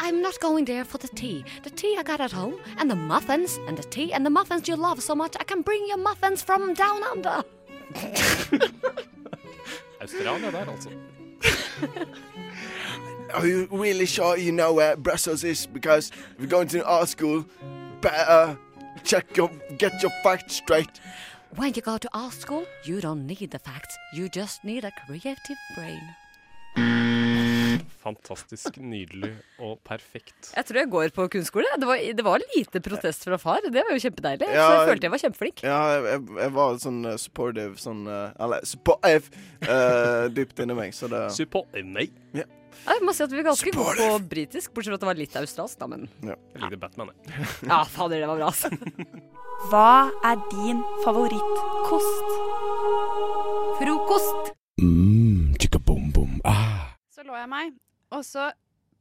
Speaker 19: I'm not going there for the tea. The tea I got at home, and the muffins, and the tea, and the muffins you love so much. I can bring you muffins from down under.
Speaker 3: Australia der, altså.
Speaker 20: Are you really sure you know where Brussels is? Because if you're going to art school, better check your get your facts straight.
Speaker 19: When you go to art school, you don't need the facts. You just need a creative brain.
Speaker 3: Fantastisk, nydelig og perfekt.
Speaker 19: Jeg tror jeg går på kunstskole. Det var, det var lite protest fra far. Det var jo kjempedeilig.
Speaker 20: Ja,
Speaker 19: så jeg følte jeg var kjempeflink.
Speaker 20: Ja, jeg, jeg, jeg var sånn eh, supportive, sånn eh, Eller supportive eh, dypt inni meg, så det
Speaker 3: Supportive, nei.
Speaker 20: Ja.
Speaker 19: Jeg må si at vi var ganske gode på britisk, bortsett fra at det var litt australsk, da, men
Speaker 3: Jeg likte Batman, jeg.
Speaker 19: Ja, fader, det var bra, altså.
Speaker 23: Hva er din favorittkost?
Speaker 19: Frokost.
Speaker 24: Mm, chicka boom boom. Ah.
Speaker 16: Så lå jeg meg, og så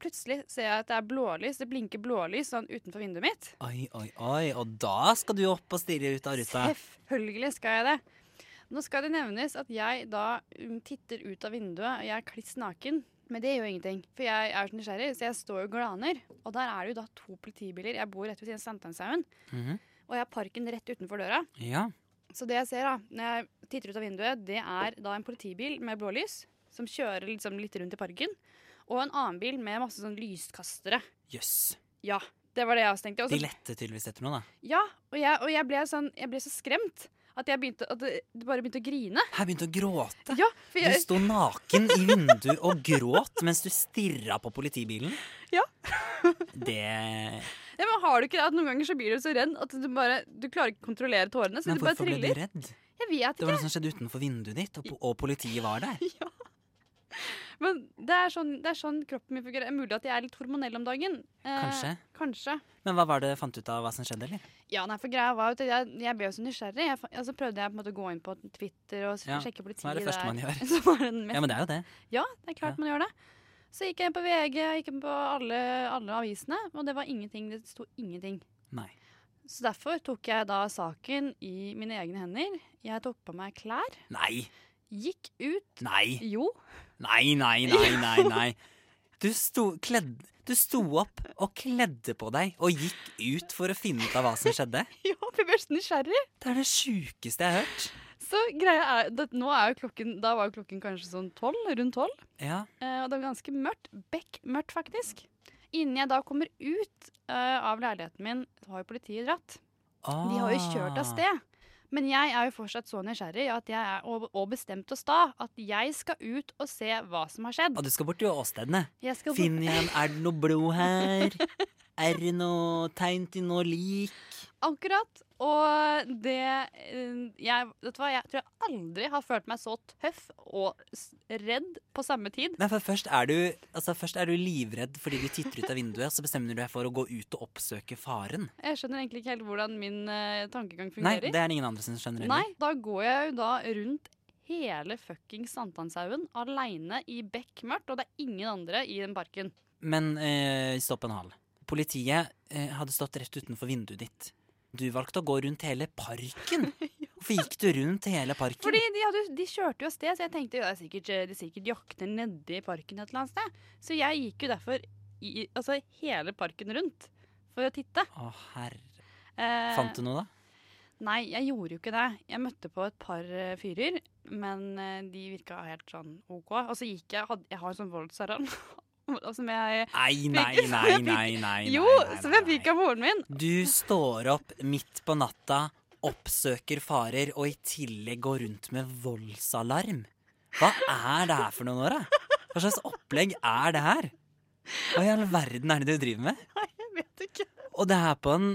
Speaker 16: plutselig ser jeg at det er blålys. Det blinker blålys sånn utenfor vinduet mitt.
Speaker 8: Oi, oi, oi. Og da skal du opp og stirre ut av ruta.
Speaker 16: Selvfølgelig skal jeg det. Nå skal det nevnes at jeg da um, titter ut av vinduet, og jeg er kliss naken. Men det gjør jo ingenting, for jeg er så nysgjerrig, så jeg står og glaner. Og der er det jo da to politibiler. Jeg bor rett ved siden av Sankthanshaugen,
Speaker 8: Mhm.
Speaker 16: og jeg har parken rett utenfor døra.
Speaker 8: Ja.
Speaker 16: Så det jeg ser da, når jeg titter ut av vinduet, det er da en politibil med blålys som kjører liksom litt rundt i parken, og en annen bil med masse sånn lyskastere.
Speaker 8: Jøss.
Speaker 16: Ja, det var det jeg også tenkte. Og så-
Speaker 8: De lette tydeligvis etter noe, da.
Speaker 16: ja, og jeg, og jeg, ble, sånn, jeg ble så skremt at jeg begynte, at det det bare begynte å grine.
Speaker 8: Her begynte å gråte.
Speaker 16: Ja, for
Speaker 8: Du
Speaker 16: jeg,
Speaker 8: sto naken i vinduet og gråt mens du stirra på politibilen.
Speaker 16: Ja.
Speaker 8: Det
Speaker 16: ja, men har du ikke det at noen ganger så blir du så redd at du bare, du klarer ikke å kontrollere tårene, så
Speaker 8: Men
Speaker 16: du bare
Speaker 8: hvorfor ble
Speaker 16: triller.
Speaker 8: du redd?
Speaker 16: Jeg
Speaker 15: Jeg vet
Speaker 8: Det var
Speaker 15: ikke.
Speaker 8: noe som skjedde utenfor vinduet ditt, og, po- og politiet var der.
Speaker 16: Men det er, sånn, det er sånn kroppen min fungerer. Det er Mulig at jeg er litt hormonell om dagen. Eh,
Speaker 8: Kanskje.
Speaker 16: Kanskje.
Speaker 8: Men hva var det fant du ut av hva som skjedde, eller?
Speaker 16: Ja, nei, for greia var jo at jeg, jeg ble jo så nysgjerrig. Jeg, fa- og så prøvde jeg på en måte å gå inn på Twitter og s-
Speaker 8: Ja,
Speaker 16: sjekke politiet
Speaker 8: som er det første
Speaker 16: der.
Speaker 8: man gjør.
Speaker 16: Som er den mest-
Speaker 8: Ja, men det er jo det.
Speaker 16: Ja, det er klart man gjør det. Så gikk jeg inn på VG, jeg gikk inn på alle, alle avisene, og det var ingenting. Det sto ingenting.
Speaker 8: Nei.
Speaker 16: Så derfor tok jeg da saken i mine egne hender. Jeg tok på meg klær,
Speaker 8: Nei!
Speaker 16: gikk ut
Speaker 8: Nei.
Speaker 16: Jo.
Speaker 8: Nei, nei, nei, nei. nei. Du sto, kledd, du sto opp og kledde på deg og gikk ut for å finne ut av hva som skjedde.
Speaker 16: Ja, jeg ble så nysgjerrig.
Speaker 8: Det er det sjukeste jeg har hørt.
Speaker 16: Så greia er, det, nå er jo klokken, Da var jo klokken kanskje sånn tolv, rundt tolv.
Speaker 8: Ja.
Speaker 16: Eh, og det var ganske mørkt. Bekmørkt, faktisk. Innen jeg da kommer ut eh, av leiligheten min, så har jo politiet dratt. De har jo kjørt av sted. Men jeg er jo fortsatt så nysgjerrig at jeg er, og, og bestemt og sta at jeg skal ut og se hva som har skjedd.
Speaker 8: Og du skal bort til åstedene.
Speaker 16: Jeg skal bort-
Speaker 8: Finn igjen, er det noe blod her? Er det noe tegn til noe lik?
Speaker 16: Akkurat. Og det eh, jeg, Vet du hva, jeg tror jeg aldri har følt meg så tøff og s- redd på samme tid.
Speaker 8: Nei, for først er, du, altså først er du livredd fordi du titter ut av vinduet, så bestemmer du deg for å gå ut og oppsøke faren.
Speaker 16: Jeg skjønner egentlig ikke helt hvordan min eh, tankegang
Speaker 8: Nei,
Speaker 16: fungerer.
Speaker 8: det er det ingen andre som skjønner heller.
Speaker 16: Nei, da går jeg jo da rundt hele fuckings Sankthanshaugen aleine i bekmørkt, og det er ingen andre i den parken.
Speaker 8: Men eh, stopp en hal. Politiet eh, hadde stått rett utenfor vinduet ditt. Du valgte å gå rundt hele parken. Hvorfor gikk du rundt hele parken?
Speaker 16: Fordi de, hadde, de kjørte jo av sted, så jeg tenkte jo det er sikkert, eh, de sikkert jakter nedi parken et eller annet sted. Så jeg gikk jo derfor i, altså, hele parken rundt for å titte.
Speaker 8: Å, herre.
Speaker 16: Eh,
Speaker 8: Fant du noe, da?
Speaker 16: Nei, jeg gjorde jo ikke det. Jeg møtte på et par eh, fyrer, men eh, de virka helt sånn OK. Og så gikk jeg hadde, Jeg har en sånn voldsalarm. som jeg
Speaker 8: Nei,
Speaker 16: fikk-
Speaker 8: nei,
Speaker 16: som jeg
Speaker 8: nei,
Speaker 16: fikk-
Speaker 8: nei, nei, nei,
Speaker 16: Jo,
Speaker 8: nei,
Speaker 16: som jeg fikk av moren min.
Speaker 8: Du står opp midt på natta, oppsøker farer og i tillegg går rundt med voldsalarm. Hva er det her for noe, Nora? Hva slags opplegg er det her? Hva i all verden er det du driver med? Nei, jeg vet ikke. Og det er på en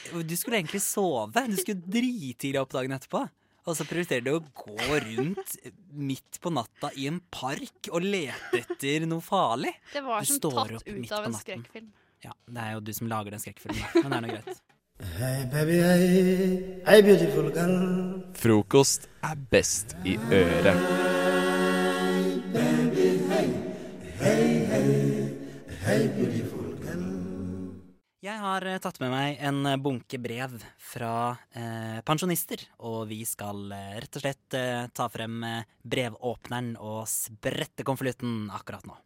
Speaker 8: Du skulle egentlig sove. Du skulle dritidlig opp dagen etterpå. Og så prioriterer du å gå rundt midt på natta i en park og lete etter noe farlig.
Speaker 16: Det var
Speaker 8: Du
Speaker 16: som
Speaker 8: står
Speaker 16: tatt
Speaker 8: opp midt
Speaker 16: ut av
Speaker 8: på
Speaker 16: en
Speaker 8: natten.
Speaker 16: skrekkfilm.
Speaker 8: Ja, det er jo du som lager den skrekkfilmen, da. Men det er nå greit.
Speaker 2: Hey baby, hey, hey beautiful girl.
Speaker 1: Frokost er best i øret.
Speaker 8: Jeg har eh, tatt med meg en eh, bunke brev fra eh, pensjonister, og vi skal eh, rett og slett eh, ta frem eh, brevåpneren og sprette konvolutten akkurat nå.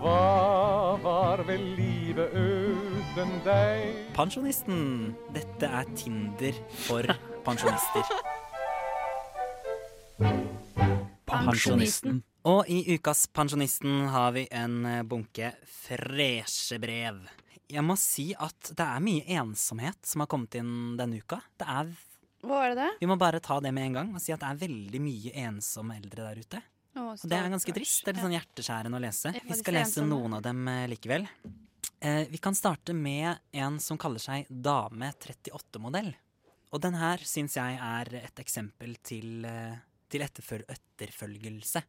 Speaker 25: Hva var vel livet uten deg?
Speaker 8: Pensjonisten. Dette er Tinder for pensjonister. Pensjonisten. Og i ukas Pensjonisten har vi en eh, bunke freshe brev. Jeg må si at det er mye ensomhet som har kommet inn denne uka. Det er,
Speaker 16: Hva var det det?
Speaker 8: vi må bare ta det med en gang og si at det er veldig mye ensomme eldre der ute.
Speaker 16: Å,
Speaker 8: Og det er
Speaker 16: stakkars.
Speaker 8: ganske trist. Det er litt sånn hjerteskjærende å lese.
Speaker 16: Ja,
Speaker 8: Vi
Speaker 16: de
Speaker 8: skal
Speaker 16: ser
Speaker 8: lese
Speaker 16: ensomme.
Speaker 8: noen av dem eh, likevel. Eh, Vi kan starte med en som kaller seg Dame 38-modell. Og den her syns jeg er et eksempel til, eh, til etterføl etterfølgelse.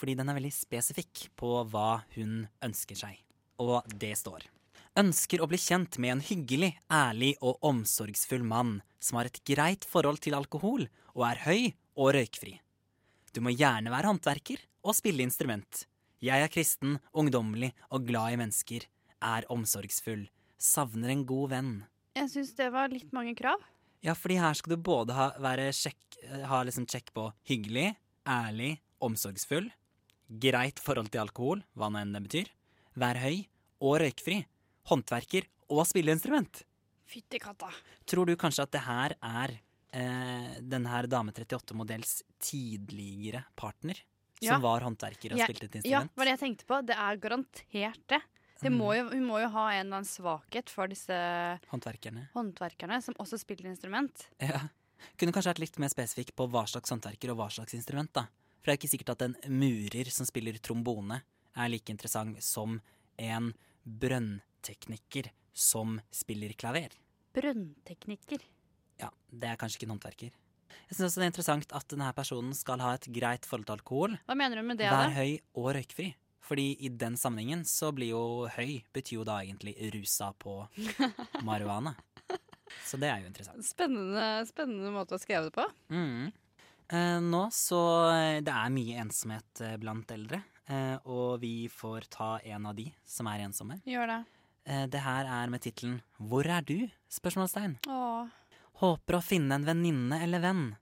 Speaker 8: Fordi den er veldig spesifikk på hva hun ønsker seg. Og det står. Ønsker å bli kjent med en hyggelig, ærlig og omsorgsfull mann som har et greit forhold til alkohol og er høy og røykfri. Du må gjerne være håndverker og spille instrument. Jeg er kristen, ungdommelig og glad i mennesker. Er omsorgsfull. Savner en god venn.
Speaker 16: Jeg syns det var litt mange krav.
Speaker 8: Ja, fordi her skal du både ha, være sjekk, ha liksom sjekk på hyggelig, ærlig, omsorgsfull, greit forhold til alkohol, hva nå enn det betyr, vær høy og røykfri, håndverker og spilleinstrument.
Speaker 16: Fytti katta.
Speaker 8: Tror du kanskje at det her er eh, den her Dame 38-modells tidligere partner?
Speaker 16: Ja.
Speaker 8: Som var håndverker og
Speaker 16: Jeg-
Speaker 8: spilte et
Speaker 16: Ja,
Speaker 8: instrument? Mm.
Speaker 16: var det jeg tenkte på. Det er garantert det. det må jo, hun må jo ha en eller annen svakhet for disse
Speaker 8: Håndverkerne.
Speaker 16: håndverkerne, som også spiller instrument.
Speaker 8: Ja. Kunne kanskje vært litt mer spesifikk på hva slags håndverker og hva slags instrument, da. For det er ikke sikkert at en murer som spiller trombone, er like interessant som en brønntekniker som spiller klaver.
Speaker 16: Brønnteknikker.
Speaker 8: Ja, det er kanskje ikke en håndverker. Jeg synes også det er interessant at denne personen skal ha et greit forhold til alkohol.
Speaker 16: Hva mener du med det?
Speaker 8: Vær
Speaker 16: Ada?
Speaker 8: høy og røykfri. Fordi i den sammenhengen så blir jo høy betyr jo da egentlig rusa på marihuana. Så det er jo interessant.
Speaker 16: Spennende, spennende måte å skrive det på.
Speaker 8: Mm. Eh, nå så eh, Det er mye ensomhet eh, blant eldre, eh, og vi får ta en av de som er ensomme.
Speaker 16: Gjør det.
Speaker 8: Eh, det her er med tittelen 'Hvor er du?' spørsmålstegn.
Speaker 16: Åh.
Speaker 8: Håper å finne en venninne eller venn.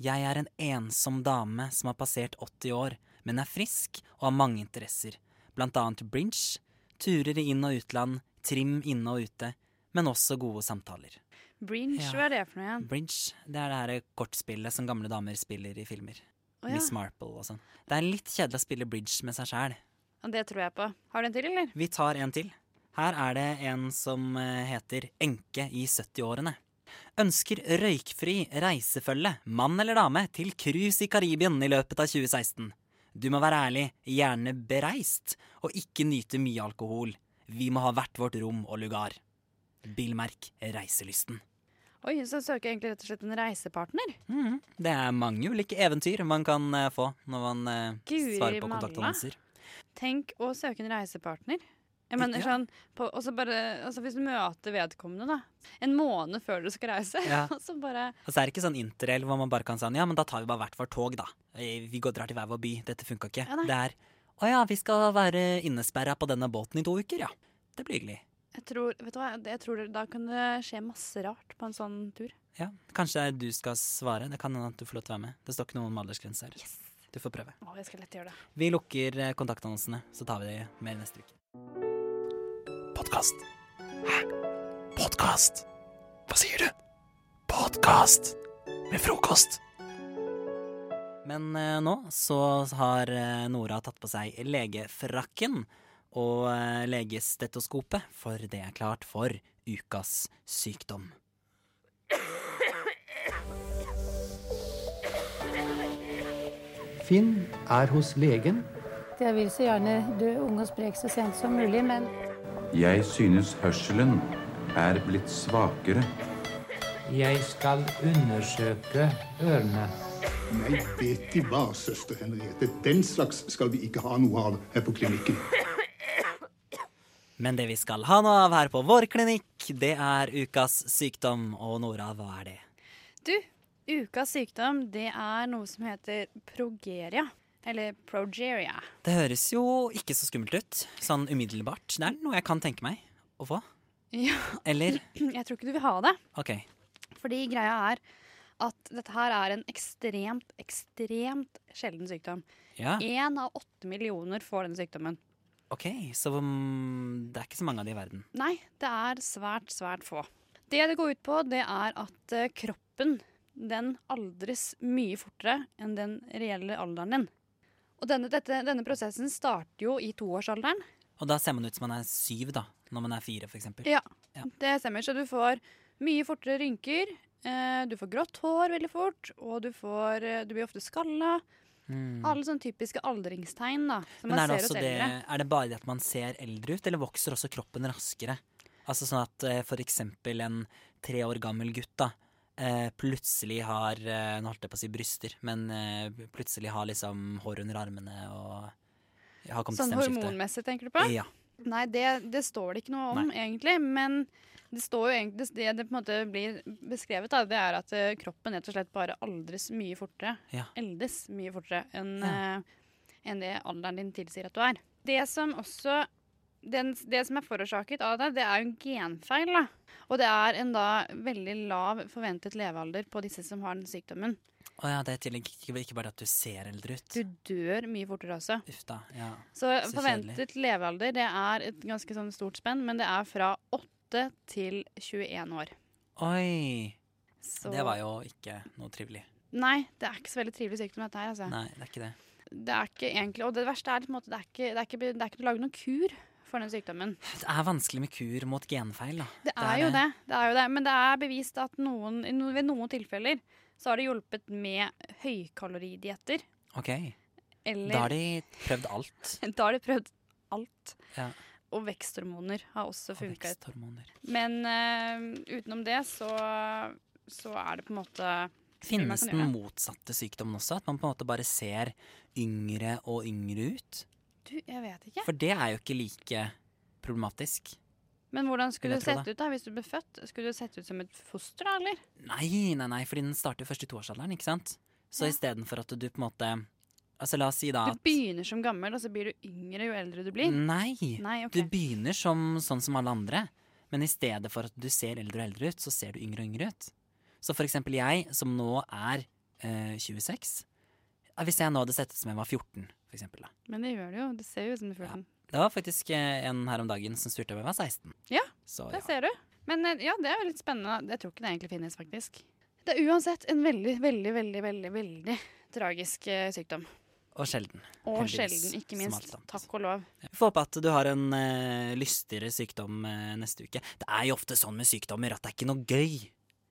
Speaker 8: Jeg er en ensom dame som har passert 80 år, men er frisk og har mange interesser. Blant annet bridge, turer i inn- og utland, trim inne og ute, men også gode samtaler.
Speaker 16: Bringe,
Speaker 8: Ja.
Speaker 16: hva er det for noe igjen?
Speaker 8: Bridge, det er det her kortspillet som gamle damer spiller i filmer.
Speaker 16: Å, ja.
Speaker 8: Miss Marple og sånn. Det er litt kjedelig å spille bridge med seg sjæl.
Speaker 16: Ja, Det tror jeg på. Har du en til, eller?
Speaker 8: Vi tar en til. Her er det en som eh, heter Enke i 70-årene. Ønsker røykfri reisefølge, mann eller dame, til cruise i Karibien i løpet av 2016. Du må være ærlig, gjerne bereist, og ikke nyte mye alkohol. Vi må ha hvert vårt rom og lugar. Bilmerk Reiselysten.
Speaker 16: Oi, så søker jeg egentlig rett og slett en reisepartner.
Speaker 8: Det er mange ulike eventyr man kan eh, få når man eh,
Speaker 16: Guri
Speaker 8: svarer på
Speaker 16: malla.
Speaker 8: kontaktannonser.
Speaker 16: Tenk å søke en reisepartner. Jeg mener
Speaker 8: Ja.
Speaker 16: sånn, på, og så bare, altså Hvis du møter vedkommende da, en måned før du skal reise,
Speaker 8: Ja.
Speaker 16: og så bare
Speaker 8: Og så er det ikke sånn interrail hvor man bare kan sånn Ja, men da tar vi bare hvert vårt tog, da. Eh, Vi går drar til hver vår by. Dette funka ikke.
Speaker 16: Ja, nei.
Speaker 8: det er Å ja, vi skal være innesperra på denne båten i to uker, ja. Det blir hyggelig.
Speaker 16: jeg tror, vet du hva, jeg tror det- Da kan det skje masse rart på en sånn tur.
Speaker 8: Ja. Kanskje du skal svare. Det kan hende at du får lov til å være med. Det står ikke noe om aldersgrense her. Du får prøve.
Speaker 16: Å, jeg skal lett gjøre det.
Speaker 8: Vi lukker eh, kontaktannonsene, så tar vi det mer neste uke. Podkast.
Speaker 24: Podkast. Hva sier du? Podkast med frokost.
Speaker 8: Men eh, nå så har eh, Nora tatt på seg legefrakken og eh, legestetoskopet, for det er klart for ukas sykdom.
Speaker 12: Finn er hos legen.
Speaker 10: Jeg vil så gjerne dø ung og sprek så sent som mulig, men
Speaker 26: Jeg synes hørselen er blitt svakere.
Speaker 10: Jeg skal undersøke ørene.
Speaker 9: Nei, vet De hva, søster Henriette? Den slags skal vi ikke ha noe av her på klinikken.
Speaker 8: Men det vi skal ha noe av her på vår klinikk, det er ukas sykdom. Og Nora, hva er det?
Speaker 16: Du, ukas sykdom det er noe som heter progeria. Eller progeria.
Speaker 8: Det høres jo ikke så skummelt ut, sånn umiddelbart. Det er noe jeg kan tenke meg å få.
Speaker 16: Ja,
Speaker 8: Eller?
Speaker 16: jeg tror ikke du vil ha det.
Speaker 8: OK.
Speaker 16: Fordi greia er at dette her er en ekstremt, ekstremt sjelden sykdom.
Speaker 8: Ja.
Speaker 16: Én av åtte millioner får denne sykdommen.
Speaker 8: ok, Så mm, det er ikke så mange av de i verden.
Speaker 16: Nei, det er svært, svært få. Det det går ut på, det er at eh, kroppen den aldres mye fortere enn den reelle alderen din. Og denne, dette, denne prosessen starter jo i toårsalderen.
Speaker 8: Og da ser man ut som man er syv, da. Når man er fire, for eksempel.
Speaker 16: Ja, det stemmer. Så du får mye fortere rynker, eh, du får grått hår veldig fort, og du, får, eh, du blir ofte skalla.
Speaker 8: Mm.
Speaker 16: Alle sånne typiske aldringstegn da, som
Speaker 8: Men
Speaker 16: man
Speaker 8: er det,
Speaker 16: ser
Speaker 8: også
Speaker 16: hos
Speaker 8: det,
Speaker 16: eldre.
Speaker 8: er det bare det at man ser eldre ut, eller vokser også kroppen raskere? Altså sånn at eh, for eksempel en tre år gammel gutt da, eh, plutselig har, eh, nå holdt jeg på å si bryster, men eh, plutselig har liksom hår under armene og har kommet
Speaker 16: Sånn
Speaker 8: til stemmeskiftet.
Speaker 16: hormonmessig, tenker du på?
Speaker 8: Ja.
Speaker 16: Nei, det, det står det ikke noe om, egentlig. Men det, står jo egentlig, det, det på en måte blir beskrevet, da, det er at eh, kroppen rett og slett bare aldres mye fortere.
Speaker 10: Ja.
Speaker 16: Eldes mye fortere enn eh, enn det alderen din tilsier at du er. Det som også den, Det som er forårsaket av det, det er jo en genfeil. da. Og det er en da veldig lav forventet levealder på disse som har den sykdommen.
Speaker 8: Å ja, det er i tillegg ikke, ikke bare at du ser eldre ut.
Speaker 16: Du dør mye fortere også.
Speaker 8: Uff da, ja.
Speaker 16: Så
Speaker 8: Så
Speaker 16: forventet
Speaker 8: kjedelig.
Speaker 16: levealder det er et ganske sånn stort spenn, men det er fra 8 til 21 år.
Speaker 8: Oi,
Speaker 16: Så-
Speaker 8: det var jo ikke noe trivelig.
Speaker 16: Nei, det er ikke så veldig trivelig sykdom dette her, altså.
Speaker 8: Nei, det er ikke det.
Speaker 16: Det er ikke egentlig, og det verste er, på en måte, det er ikke, det er ikke, det er ikke laget noen kur for den sykdommen.
Speaker 8: Det er vanskelig med kur mot genfeil da.
Speaker 16: Det er jo det, det er jo det. Men det er bevist at noen, i no- ved noen tilfeller så har det hjulpet med høykaloridietter.
Speaker 8: Ok,
Speaker 16: Eller,
Speaker 8: da har de prøvd alt.
Speaker 16: da har de prøvd alt.
Speaker 8: Ja.
Speaker 16: og veksthormoner har også funka.
Speaker 8: veksthormoner.
Speaker 16: Men eh, utenom det så, så er det på en måte man
Speaker 8: Finnes
Speaker 16: kan
Speaker 8: den
Speaker 16: gjøre.
Speaker 8: motsatte sykdommen også? At man på en måte bare ser yngre og yngre ut?
Speaker 16: Du, jeg vet ikke.
Speaker 8: For det er jo ikke like problematisk.
Speaker 16: Men hvordan
Speaker 8: Vil
Speaker 16: skulle
Speaker 8: jeg
Speaker 16: det
Speaker 8: tro
Speaker 16: sett
Speaker 8: det.
Speaker 16: ut da, hvis du ble født? Skulle du sett ut som et foster da, eller?
Speaker 8: Nei, nei, nei, fordi den starter først i toårsalderen, ikke sant? Så
Speaker 16: Ja.
Speaker 8: istedenfor at du på en måte Altså la oss si da
Speaker 16: Du begynner som gammel, og så blir du yngre jo eldre du blir.
Speaker 8: Nei.
Speaker 16: Nei, ok.
Speaker 8: Du begynner som, sånn som alle andre, men i stedet for at du ser eldre og eldre ut, så ser du yngre og yngre ut. Så for eksempel jeg, som nå er eh, 26 eh, Hvis jeg nå hadde sett ut som jeg var 14, for eksempel, da.
Speaker 16: Men det gjør du jo. Det ser jo ut som du er 14.
Speaker 8: Det var faktisk eh, en her om dagen som spurte om jeg var 16.
Speaker 16: Ja,
Speaker 8: Så
Speaker 16: der
Speaker 8: ja.
Speaker 16: ser du. Men eh, ja, det er jo litt spennende. Jeg tror ikke det egentlig finnes, faktisk. Det er uansett en veldig, veldig, veldig, veldig, veldig tragisk eh, sykdom.
Speaker 8: Og sjelden.
Speaker 16: Og
Speaker 8: heldigvis,
Speaker 16: sjelden, ikke
Speaker 8: som alt
Speaker 16: minst.
Speaker 8: annet.
Speaker 16: Takk og lov.
Speaker 8: Vi får håpe at du har en eh, lystigere sykdom eh, neste uke. Det er jo ofte sånn med sykdommer at det er ikke noe gøy.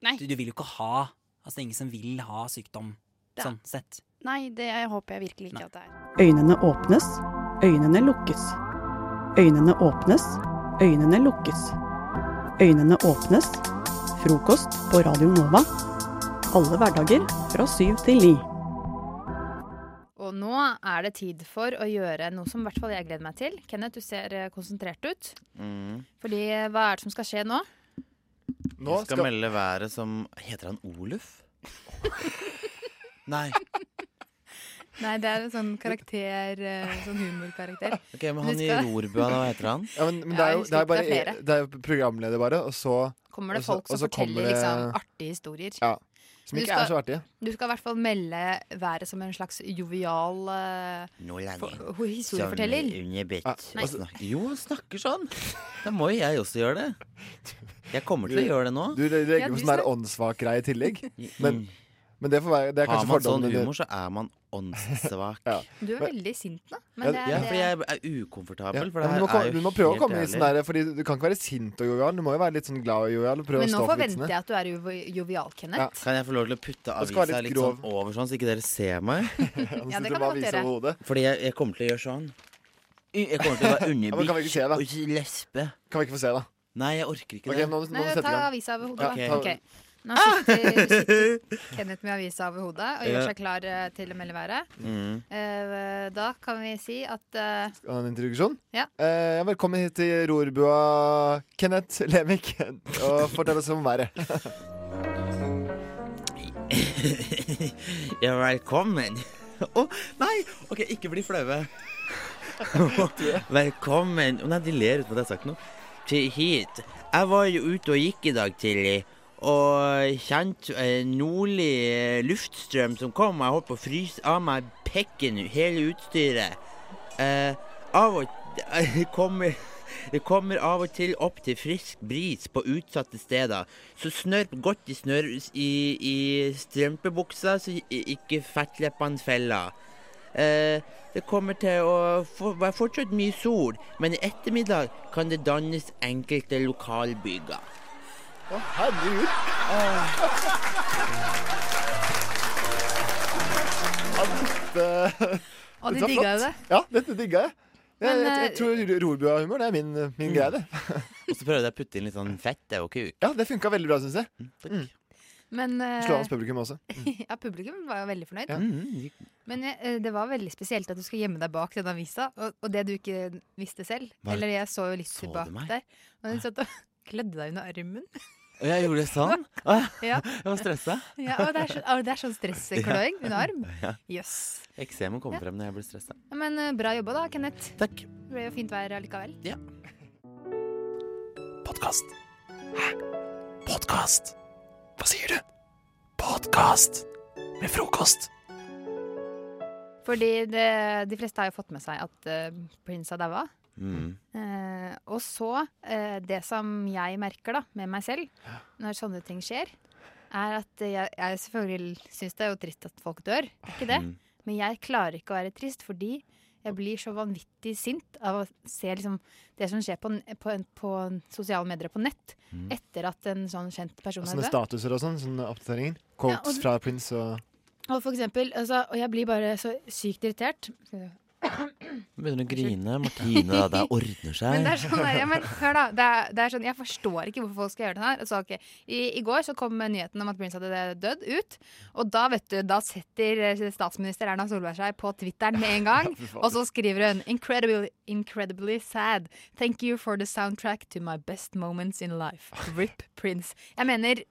Speaker 16: Nei.
Speaker 8: Du, du vil jo ikke ha Altså, det er ingen som vil ha sykdom
Speaker 16: Det er-
Speaker 8: sånn sett.
Speaker 16: Nei, det håper jeg virkelig ikke at det er.
Speaker 4: Øynene åpnes, øynene lukkes. Øynene åpnes, øynene lukkes. Øynene åpnes. Frokost på Radio Nova. Alle hverdager fra syv til ni.
Speaker 13: Og nå er det tid for å gjøre noe som i hvert fall jeg gleder meg til. Kenneth, du ser eh, konsentrert ut.
Speaker 17: Mm.
Speaker 13: Fordi eh, hva er det som skal skje nå?
Speaker 17: Nå skal,
Speaker 18: skal-
Speaker 17: melde været som Heter han Oluf? Nei.
Speaker 13: Nei, det er en sånn karakter, eh, sånn humorkarakter.
Speaker 17: Ok, men
Speaker 13: Du
Speaker 17: han i
Speaker 13: skal-
Speaker 17: Rorbua, da, hva heter han?
Speaker 18: Ja, men, men
Speaker 13: Ja,
Speaker 18: det, er
Speaker 13: jeg
Speaker 18: jo,
Speaker 13: husker
Speaker 18: det, er
Speaker 13: ikke, det
Speaker 18: bare, e-
Speaker 13: er flere.
Speaker 18: det er jo programleder, bare, og så
Speaker 13: Kommer det
Speaker 18: og så-
Speaker 13: folk
Speaker 18: og
Speaker 13: som
Speaker 18: så kommer
Speaker 13: forteller
Speaker 18: det-
Speaker 13: liksom artige historier?
Speaker 18: Ja. Som
Speaker 13: Du
Speaker 18: ikke
Speaker 13: skal-
Speaker 18: er så artige.
Speaker 13: Du skal i hvert fall melde været som en slags jovial eh, for- ho- historieforteller.
Speaker 17: Under bit.
Speaker 13: Ah,
Speaker 17: Hva
Speaker 13: nei.
Speaker 18: altså-
Speaker 17: snak- jo, han snakker sånn. Da må jo jeg også gjøre det. Jeg kommer til å gjøre det nå.
Speaker 18: Du legger
Speaker 17: Ja,
Speaker 18: på
Speaker 17: du
Speaker 18: sånn der
Speaker 17: snakker-
Speaker 18: åndssvak greie i tillegg.
Speaker 13: Mm.
Speaker 18: Men, men det, får være, det er
Speaker 17: Har
Speaker 18: kanskje
Speaker 17: man sånn
Speaker 18: fordommen din.
Speaker 17: humor, så er man åndssvak.
Speaker 13: Du er veldig sint nå. Men
Speaker 18: Ja,
Speaker 13: det
Speaker 17: Ja,
Speaker 13: er,
Speaker 17: for
Speaker 13: det
Speaker 17: jeg er ukomfortabel. For
Speaker 18: Ja,
Speaker 17: det
Speaker 18: men
Speaker 17: her
Speaker 18: du, må komme,
Speaker 17: er jo
Speaker 18: du må prøve å
Speaker 17: helt
Speaker 18: komme i
Speaker 17: ærlig.
Speaker 18: sånn der, fordi du kan ikke være sint og jovial. Du må jo være litt sånn glad og jovial. og Prøve
Speaker 13: men
Speaker 18: å
Speaker 13: nå
Speaker 18: stå for
Speaker 13: forventer
Speaker 18: vitsene.
Speaker 13: jeg at du er jovi- jovial,
Speaker 18: Ja.
Speaker 13: Kenneth.
Speaker 17: Kan jeg få lov til å putte
Speaker 18: Det skal være
Speaker 17: avisa
Speaker 18: litt
Speaker 17: litt sånn over sånn, så ikke dere ser meg?
Speaker 13: Ja, det kan du godt gjøre.
Speaker 17: Fordi jeg, jeg kommer til å gjøre sånn. Jeg kommer til å være
Speaker 18: Ja, men kan vi
Speaker 17: underbitt
Speaker 18: ikke se, da?
Speaker 17: og lesbe.
Speaker 18: Kan vi ikke få se, da?
Speaker 17: Nei, jeg orker ikke
Speaker 18: Ok,
Speaker 17: det.
Speaker 18: nå- nå
Speaker 13: Nei, ta avisa over hodet.
Speaker 17: Ok.
Speaker 13: da. Ok.
Speaker 18: Ah!
Speaker 13: Nå sitter, sitter Kenneth med avisa over hodet og gjør
Speaker 18: Ja.
Speaker 13: seg klar eh, til å melde været.
Speaker 18: Mm.
Speaker 13: Eh, Da kan vi si at eh,
Speaker 18: Skal du ha En introduksjon?
Speaker 13: Ja.
Speaker 18: Eh, ja, velkommen hit til rorbua, Kenneth Lemik. Og fortell oss om været.
Speaker 17: Ja, velkommen. Å, nei! OK, ikke bli flaue. velkommen Å, Nei, de ler uten at jeg har sagt noe. Til hit. Jeg var jo ute og gikk i dag tidlig. Og kjente eh, nordlig eh, luftstrøm som kom. og Jeg holdt på å fryse av meg pekken, hele utstyret. Eh, av og kommer, det kommer av og til opp til frisk bris på utsatte steder. Så snørp godt i, snør, i, i strømpebuksa, så i- ikke fettleppene feller. Eh, det kommer til å få, være fortsatt mye sol, men i ettermiddag kan det dannes enkelte lokalbyger.
Speaker 18: Å, herregud. Ja, dette-
Speaker 13: Og de
Speaker 18: dette var
Speaker 13: digga jo
Speaker 18: flott.
Speaker 13: det.
Speaker 18: eh, Ja, dette digga jeg. Jeg,
Speaker 13: Men, eh,
Speaker 18: jeg, jeg tror rorbua-humor det er min, min
Speaker 27: Mm.
Speaker 18: greie, det.
Speaker 17: Og så prøvde jeg å putte inn litt sånn fett og kuk.
Speaker 18: Ja, det funka veldig bra, syns jeg. Mm.
Speaker 13: Men eh,
Speaker 18: Slå hans publikum også.
Speaker 13: ja, publikum var jo veldig fornøyd.
Speaker 18: Ja.
Speaker 27: Mm,
Speaker 17: Mm.
Speaker 13: Men jeg- eh, det var veldig spesielt at du skal gjemme deg bak denne avisa, og, og det du ikke visste selv.
Speaker 17: Hva-
Speaker 13: Eller jeg så jo litt
Speaker 17: Så du
Speaker 13: bak
Speaker 17: meg?
Speaker 13: der. Og du satt og kledde deg under armen.
Speaker 17: Og jeg gjorde det sånn. Å,
Speaker 13: Ja.
Speaker 17: Jeg var stressa.
Speaker 13: Ja, og det er, så, å, det er sånn stresskløing under arm.
Speaker 17: Ja.
Speaker 13: Jøss.
Speaker 17: Eksemen kommer
Speaker 13: Ja.
Speaker 17: frem når jeg blir stressa.
Speaker 13: Ja, Men eh, bra jobba da, Kenneth.
Speaker 17: Takk.
Speaker 13: Det ble jo fint vær allikevel.
Speaker 17: Ja.
Speaker 24: Podkast. Hæ? Podkast? Hva sier du? Podkast med frokost.
Speaker 13: Fordi det, de fleste har jo fått med seg at eh, Prince har daua.
Speaker 17: Mm.
Speaker 13: Eh, og så, eh, det som jeg merker da, med meg selv, når sånne ting skjer, er at eh, jeg, jeg selvfølgelig syns det er jo trist at folk dør, det er ikke det.
Speaker 17: Mm.
Speaker 13: Men jeg klarer ikke å være trist fordi jeg blir så vanvittig sint av å se liksom, det som skjer på, n- på, en- på sosiale medier og på nett
Speaker 18: Mm.
Speaker 13: etter at en sånn kjent person
Speaker 18: Sånne
Speaker 13: er død.
Speaker 18: statuser og sånn. Sånne oppdateringer. Quotes
Speaker 13: og-
Speaker 18: fra Prince og
Speaker 13: Og for eksempel, altså, og jeg blir bare så sykt irritert. Skal vi se.
Speaker 27: Begynner å grine. Martine, det ordner seg.
Speaker 13: Men det er sånn der, ja, men hør da, det er, det er sånn, Jeg forstår ikke hvorfor folk skal gjøre det her. Altså, ok, I, I går så kom nyheten om at Prince hadde dødd ut. Og da vet du, da setter eh, statsminister Erna Solberg seg på Twitteren med en gang.
Speaker 16: Ja, fy faen.
Speaker 13: og så skriver hun incredibly, incredibly sad. Thank you for the soundtrack to my best moments in life. RIP Prince. Jeg mener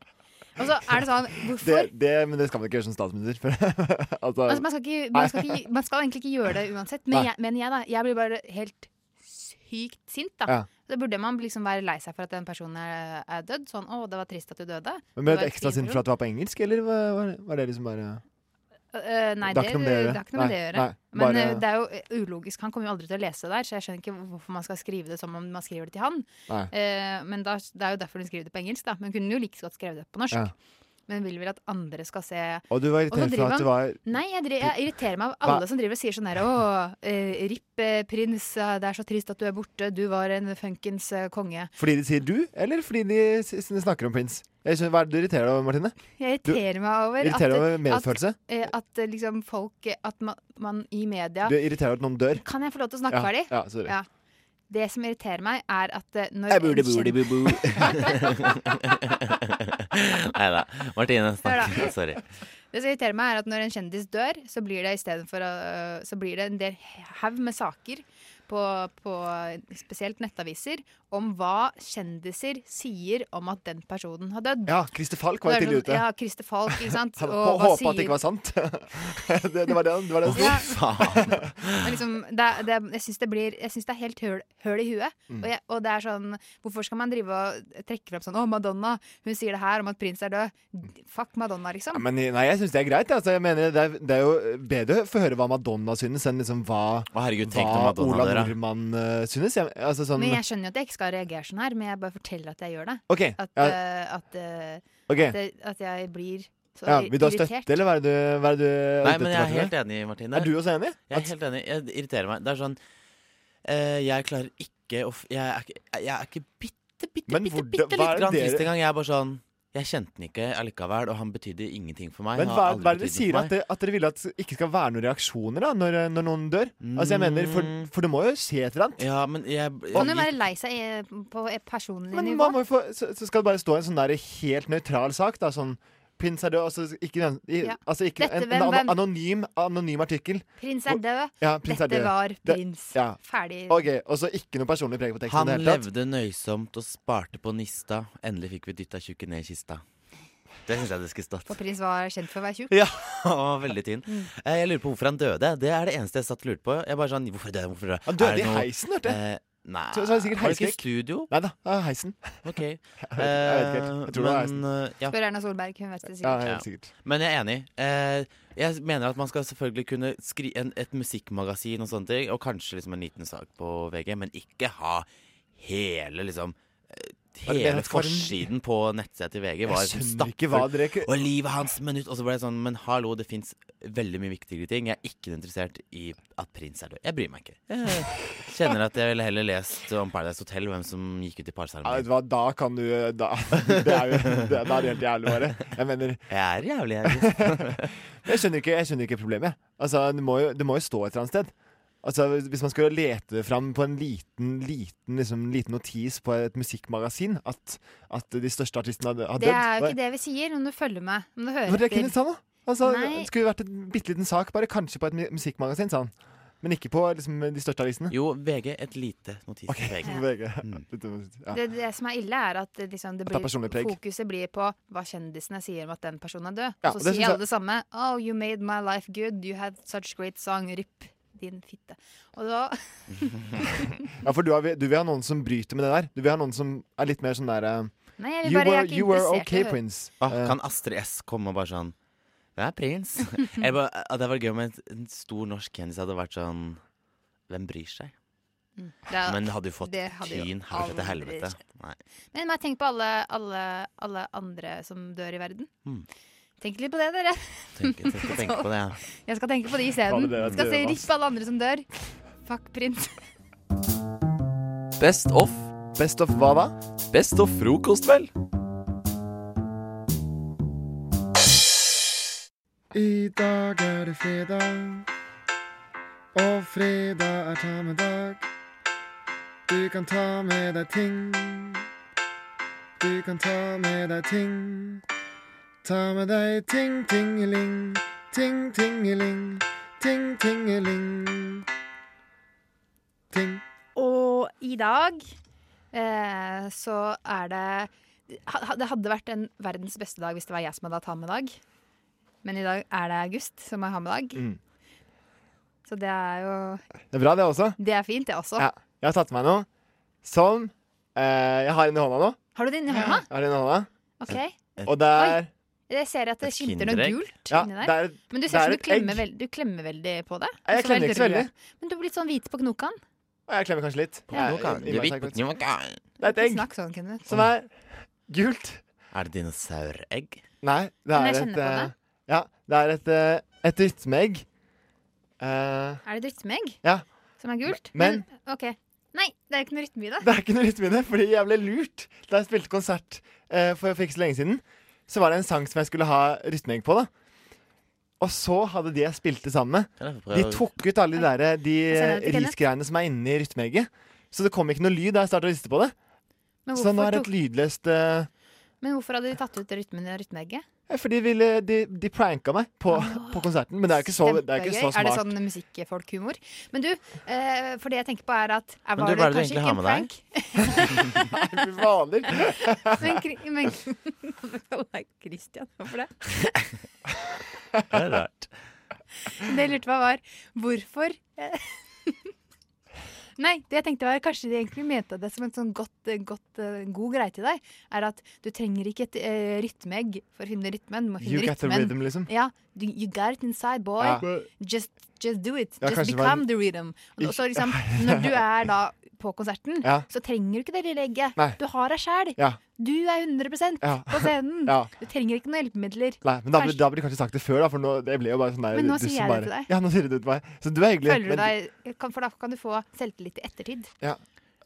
Speaker 13: Og så er det sånn hvorfor,
Speaker 18: Det, det, men det skal man ikke gjøre som statsminister. for- altså,
Speaker 13: altså, man, skal ikke, man, skal ikke, man skal egentlig ikke gjøre det uansett. Men
Speaker 18: Nei.
Speaker 13: jeg, men jeg, da, jeg blir bare helt sykt sint, da.
Speaker 18: Ja.
Speaker 13: Da burde man liksom være lei seg for at den personen er, er dødd. Sånn 'Å, det var trist at du dødde'. Det
Speaker 18: Men ble du
Speaker 13: var et
Speaker 18: ekstra
Speaker 13: fint
Speaker 18: sint for
Speaker 13: rom».
Speaker 18: at det var på engelsk, eller var, var- var det liksom bare
Speaker 13: Eh, nei, det,
Speaker 18: Det har
Speaker 13: det,
Speaker 18: ikke noe med det å gjøre.
Speaker 13: har ikke noe med det å
Speaker 18: Nei,
Speaker 13: gjøre.
Speaker 18: nei,
Speaker 13: Men
Speaker 18: bare-
Speaker 13: eh, det er jo eh, ulogisk. Han kommer jo aldri til å lese det der, så jeg skjønner ikke hvorfor man skal skrive det som om man skriver det til han.
Speaker 18: Nei.
Speaker 13: Eh, men da, det er jo derfor hun skriver det på engelsk, da. Men hun kunne jo like så godt skrevet det på norsk.
Speaker 18: Ja.
Speaker 13: Men vil vel at andre skal se
Speaker 18: Og du var
Speaker 13: så
Speaker 18: irritert for
Speaker 13: driver
Speaker 18: at det
Speaker 13: han-
Speaker 18: var
Speaker 13: Nei, jeg, dri- jeg irriterer meg av alle
Speaker 18: Hva?
Speaker 13: som driver og sier sånn her Å, eh, RIP eh, prins, eh, det er så trist at du er borte, du var en funkens eh, konge.
Speaker 18: Fordi de sier du, eller fordi de s- s- snakker om prins? Jeg skjønner, hva er det du irriterer deg over, Martine?
Speaker 13: Jeg
Speaker 18: Du-
Speaker 13: irriterer meg over
Speaker 18: irriterer
Speaker 13: at,
Speaker 18: over medfølelse?
Speaker 13: At, eh, at eh, liksom folk eh, At man, man i media
Speaker 18: Du irriterer deg over at noen dør.
Speaker 13: Kan jeg få lov til å snakke
Speaker 18: Ja,
Speaker 13: ferdig?
Speaker 18: ja, sorry.
Speaker 13: Det som irriterer meg, er at eh, når
Speaker 27: Jeg burde
Speaker 13: en
Speaker 27: burde
Speaker 13: kjent-
Speaker 27: bu bu. Nei da. Martine, snakk.
Speaker 13: Hør da.
Speaker 27: Sorry.
Speaker 13: Det som irriterer meg, er at når en kjendis dør, så blir det, i stedet for, øh, så blir det en del haug med saker på, på spesielt nettaviser om hva kjendiser sier om at den personen har dødd.
Speaker 18: Ja, Christer Falk var
Speaker 13: Det er
Speaker 18: tidlig
Speaker 13: sånn,
Speaker 18: ute.
Speaker 13: Ja, Christer Falk, ikke sant.
Speaker 18: Han
Speaker 13: Og hva
Speaker 18: håpa at det
Speaker 13: sier-
Speaker 18: ikke var sant. det, det var det han det var det han
Speaker 13: Ja.
Speaker 18: sto.
Speaker 13: Men liksom, det, er- det, er- jeg syns det, blir- jeg synes det er helt høl, høl i huet.
Speaker 18: Mm.
Speaker 13: Og, jeg, og det er sånn Hvorfor skal man drive og trekke frem sånn Å, Madonna, hun sier det her om at prins er død. Fuck Madonna, liksom.
Speaker 18: Ja, men nei, jeg syns det er greit. Altså, jeg mener det, er, det er jo bedre å få høre hva Madonna synes, enn liksom hva,
Speaker 27: tenk når
Speaker 18: hva
Speaker 27: Madonna
Speaker 18: Ola
Speaker 27: dør, da.
Speaker 18: Nordmann eh, synes. Jeg, altså, sånn,
Speaker 13: Men jeg skjønner jo at jeg ikke skal reagere sånn her, men jeg bare forteller at jeg gjør det.
Speaker 18: Ok,
Speaker 13: At,
Speaker 18: ja.
Speaker 13: eh, at, eh,
Speaker 18: Ok.
Speaker 13: at, jeg- at jeg blir så
Speaker 18: ja,
Speaker 13: ir-
Speaker 18: vil du ha
Speaker 13: irritert.
Speaker 18: støtte, eller hva er det du, hva er det du
Speaker 27: Nei,
Speaker 18: er ute
Speaker 27: men
Speaker 18: etter,
Speaker 27: jeg er
Speaker 18: Martine?
Speaker 27: helt enig, Martine.
Speaker 18: Er du også enig?
Speaker 27: Jeg er helt enig. Jeg irriterer meg. Det er sånn eh, Jeg klarer ikke å f- Jeg er ikke, jeg er ikke bitte, bitte,
Speaker 18: Men
Speaker 27: bitte,
Speaker 18: hvordan-
Speaker 27: bitte
Speaker 18: hva er
Speaker 27: litt grann
Speaker 18: det dere-
Speaker 27: trist engang. Jeg er bare sånn Jeg kjente den ikke allikevel, og han betydde ingenting for meg.
Speaker 18: Men
Speaker 27: Han
Speaker 18: hva,
Speaker 27: har aldri
Speaker 18: hva er det
Speaker 27: betydd
Speaker 18: dere
Speaker 27: noe
Speaker 18: sier?
Speaker 27: for
Speaker 18: At,
Speaker 27: meg.
Speaker 18: det, at dere vil at det ikke skal være noen reaksjoner da, når, eh, når noen dør? Altså, jeg mener, For, for det må jo skje et eller annet.
Speaker 27: Mm. Ja, men jeg,
Speaker 13: Kan du være lei seg eh, på et personlig
Speaker 18: Men
Speaker 13: nivå?
Speaker 18: man må jo få, så, så skal det bare stå en sånn der helt nøytral sak. Da, sånn Prins er død. Altså ikke, den- i,
Speaker 13: Ja.
Speaker 18: altså, ikke
Speaker 13: Dette,
Speaker 18: en,
Speaker 13: hvem-
Speaker 18: en
Speaker 13: hvem?
Speaker 18: an- anonym, anonym artikkel.
Speaker 13: Prins er død.
Speaker 18: Ja, prins er
Speaker 13: Dette
Speaker 18: død.
Speaker 13: var
Speaker 18: Det-
Speaker 13: prins.
Speaker 18: ja.
Speaker 13: Ferdig.
Speaker 18: Ok, Og så ikke noe personlig preg på teksten.
Speaker 27: Han
Speaker 18: i det hele tatt.
Speaker 27: levde nøysomt og sparte på nista. Endelig fikk vi dytta tjukken ned i kista. Det syns jeg det skulle stått.
Speaker 13: For prins var kjent for å være tjukk.
Speaker 27: Ja, han var veldig tynn. Eh, Jeg lurer på hvorfor han døde. Det er det eneste jeg satt og lurte på. Jeg bare sånn, hvorfor døde han? Hvorfor døde
Speaker 18: Han døde
Speaker 27: Er det
Speaker 18: i
Speaker 27: noe-
Speaker 18: heisen, hørte jeg.
Speaker 27: Eh, Nei,
Speaker 18: Så- så er det sikkert
Speaker 27: var det ikke
Speaker 18: heiskrekk.
Speaker 27: studio?
Speaker 18: Nei da, det er heisen.
Speaker 27: Ok.
Speaker 18: Jeg vet, jeg vet ikke helt. Jeg tror det var heisen.
Speaker 27: Men, eh, ja.
Speaker 13: Spør Erna Solberg, hun vet det
Speaker 27: Ja,
Speaker 13: sikkert.
Speaker 27: Men jeg er enig. Eh, jeg mener at man skal selvfølgelig kunne skrive en, et musikkmagasin og sånne ting, og kanskje liksom en liten sak på VG, men ikke ha hele liksom eh,
Speaker 18: Var det det
Speaker 27: Hele
Speaker 18: at
Speaker 27: forsiden
Speaker 18: Karin-
Speaker 27: på nettsida til VG
Speaker 18: Jeg
Speaker 27: var
Speaker 18: skjønner ikke hva
Speaker 27: sånn stappfull.
Speaker 18: dere ikke-
Speaker 27: Og livet hans minutt Og så ble det sånn, men hallo, det fins veldig mye viktigere ting. Jeg er ikke interessert i at prins er død. Jeg bryr meg ikke. Jeg kjenner at jeg ville heller lest om Paradise Hotel, hvem som gikk ut i
Speaker 18: Ja, vet
Speaker 27: parseremonien.
Speaker 18: du hva, da kan du Da, det er jo det, da er det helt jævlig, bare. Jeg mener
Speaker 27: Jeg er jævlig jævlig.
Speaker 18: Men jeg skjønner ikke, jeg skjønner ikke problemet. Altså, det må, jo, det må jo stå et eller annet sted. Altså, Hvis man skulle lete det fram på en liten liten, liksom, liten notis på et musikkmagasin at, at de største artistene har, har
Speaker 13: Det
Speaker 18: dødd
Speaker 13: er jo
Speaker 18: Hva-
Speaker 13: ikke det vi sier, om du følger med. Om du
Speaker 18: Hvor
Speaker 13: hører
Speaker 18: er det Kenneth sa nå? Altså,
Speaker 13: Nei.
Speaker 18: det skulle vært en bitte liten sak, bare kanskje på et mu- musikkmagasin, sa han. Men ikke på liksom, de største avisene.
Speaker 27: Jo, VG. Et lite notis.
Speaker 18: Ok,
Speaker 27: VG.
Speaker 18: VG.
Speaker 27: Mm.
Speaker 18: Ja.
Speaker 13: Det, det som er ille, er at det liksom, det
Speaker 18: At det er
Speaker 13: blir,
Speaker 18: personlig preg.
Speaker 13: fokuset blir på hva kjendisene sier om at den personen er død.
Speaker 18: Ja,
Speaker 13: og
Speaker 18: og
Speaker 13: så sier
Speaker 18: det synes
Speaker 13: alle
Speaker 18: jeg-
Speaker 13: det samme. Oh, you made my life good. You had such great song. Rip din fitte. Og da
Speaker 18: Ja, for du, har, du vil ha noen som bryter med det der. Du vil ha noen som er litt mer sånn der eh,
Speaker 13: Nei, jeg vil
Speaker 18: You
Speaker 13: bare, jeg
Speaker 18: were,
Speaker 13: er ikke
Speaker 18: you were
Speaker 13: interessert i
Speaker 18: okay,
Speaker 13: å høre.
Speaker 18: Prince. Eh.
Speaker 27: Ah, kan Astrid S komme og bare sånn Det er prins. Eller bare, ah, det hadde vært gøy om en, en stor norsk kjendis hadde vært sånn Hvem bryr seg?
Speaker 13: Mm, det er-
Speaker 27: Men hadde jo fått
Speaker 13: det hadde jo
Speaker 27: tyn herfra til
Speaker 13: aldri
Speaker 27: helvete.
Speaker 13: skjedd.
Speaker 27: Nei.
Speaker 13: Men bare tenk på alle, alle, alle andre som dør i verden.
Speaker 27: Mm.
Speaker 13: Tenk litt på det, dere.
Speaker 27: Tenk- jeg skal tenke på det, ja.
Speaker 13: Jeg skal tenke på det isteden.
Speaker 27: Fader, dere er
Speaker 13: Skal se
Speaker 27: døde, ass.
Speaker 13: ripp alle andre som dør. Fuck prins.
Speaker 28: Best of.
Speaker 18: Best of hva da?
Speaker 28: Best of frokost, vel.
Speaker 5: I dag er det fredag. Og fredag er ta med dag. Du kan ta med deg ting. Du kan ta med deg ting. Ta med deg ting, tingeling. Ting, tingeling. Ting, tingeling. Ting.
Speaker 13: Og i dag eh, så er det ha- Det hadde vært en verdens beste dag hvis det var jeg som hadde hatt halvmiddag. Men i dag er det August som har halvmiddag,
Speaker 18: Mm.
Speaker 13: så det er jo
Speaker 18: Det er bra, det også.
Speaker 13: Det er fint, det også.
Speaker 18: Ja. Jeg har tatt med meg noe som eh, jeg har inni hånda nå.
Speaker 13: Har du det inni hånda?
Speaker 18: Jeg har det inni hånda.
Speaker 13: OK.
Speaker 18: Og det er
Speaker 13: Jeg ser at det skimter noe
Speaker 18: Kinderegg?
Speaker 13: gult
Speaker 18: Ja,
Speaker 13: inni der.
Speaker 18: det er et-
Speaker 13: men du
Speaker 18: det er
Speaker 13: ser som du
Speaker 18: et egg.
Speaker 13: klemmer, veld, du klemmer veldig på det.
Speaker 18: Nei, jeg
Speaker 13: Og så
Speaker 18: klemmer ikke så
Speaker 13: rød.
Speaker 18: veldig.
Speaker 13: Men du har blitt sånn hvit på knokene.
Speaker 18: Og jeg klemmer kanskje litt.
Speaker 13: Ja.
Speaker 18: Jeg-
Speaker 14: Knokene.
Speaker 18: innmari
Speaker 14: Du vet på
Speaker 18: sagt litt.
Speaker 14: knokene.
Speaker 18: Det er et egg
Speaker 13: Snakk sånn, Kenneth.
Speaker 18: som er gult.
Speaker 14: Er det dinosauregg?
Speaker 18: Nei, det
Speaker 13: Kan
Speaker 18: er
Speaker 13: jeg
Speaker 18: et
Speaker 13: kjenne på
Speaker 18: eh,
Speaker 13: det?
Speaker 18: Ja, det er et, eh, et rytmeegg. Eh,
Speaker 13: Er det rytmeegg
Speaker 18: ja.
Speaker 13: som er gult?
Speaker 18: Men-
Speaker 13: OK. Nei, det er ikke noe rytme i det.
Speaker 18: Det er ikke noe rytme i det, fordi jeg ble lurt da jeg spilte konsert eh, for for ikke så lenge siden. Så var det en sang som jeg skulle ha rytmeegg på, da. Og så hadde de jeg spilte sammen
Speaker 14: Kan jeg
Speaker 18: med,
Speaker 14: få prøve
Speaker 18: de
Speaker 14: å-
Speaker 18: tok ut alle de der, eh, de
Speaker 13: Jeg sender det
Speaker 18: eh,
Speaker 13: til Kenneth.
Speaker 18: risgreiene som er inni rytmeegget. Så det kom ikke noe lyd da jeg starta å riste på det.
Speaker 13: Men
Speaker 18: Så nå
Speaker 13: hvorfor
Speaker 18: er det et lydløst eh,
Speaker 13: Men hvorfor hadde de tatt ut rytmen i rytmeegget?
Speaker 18: ja, For de, ville, de, de pranka meg på, på konserten. Men det er jo ikke så, det er ikke så
Speaker 13: Kjempegøy. Er det
Speaker 18: smart.
Speaker 13: sånn musikkfolkhumor? Men du, eh, for det jeg tenker på er at er,
Speaker 18: Men
Speaker 13: var
Speaker 18: du, hva er det du
Speaker 13: kanskje
Speaker 18: egentlig
Speaker 13: ikke
Speaker 18: har
Speaker 13: en
Speaker 18: med deg?
Speaker 13: prank?
Speaker 18: Nei, fy fader.
Speaker 13: Men, Kri- men Hva er Christian for det?
Speaker 14: Det er rart.
Speaker 13: Det jeg lurte på var hvorfor eh, Nei, det jeg tenkte var kanskje de egentlig mente det som en sånn godt, eh, godt, eh, god greie til deg. Er at du trenger ikke et eh, rytmeegg for å finne rytmen. Du må finne
Speaker 18: You got the
Speaker 13: rytmen.
Speaker 18: rhythm, liksom.
Speaker 13: Ja. Du, you got it inside, boy.
Speaker 18: Ja.
Speaker 13: Just, just do it.
Speaker 18: Ja,
Speaker 13: just
Speaker 18: kanskje det var-
Speaker 13: become the rhythm. Og
Speaker 18: Ikke-
Speaker 13: så liksom, når du er da på konserten,
Speaker 18: Ja.
Speaker 13: så trenger du ikke det lille egget.
Speaker 18: Nei.
Speaker 13: Du har deg sjæl.
Speaker 18: Ja.
Speaker 13: Du er 100
Speaker 18: Ja.
Speaker 13: på scenen.
Speaker 18: Ja.
Speaker 13: Du trenger ikke noen hjelpemidler.
Speaker 18: Nei, men da
Speaker 13: Kanskje-
Speaker 18: burde, da burde jeg kanskje sagt det før, da, for nå, det ble jo bare sånn der,
Speaker 13: Men nå
Speaker 18: du
Speaker 13: sier jeg
Speaker 18: som
Speaker 13: det
Speaker 18: bare-
Speaker 13: til deg.
Speaker 18: Ja, nå sier du det til meg. Så du er hyggelig.
Speaker 13: Føler du
Speaker 18: men-
Speaker 13: deg, kan- for da kan du få selvtillit i ettertid.
Speaker 18: Ja.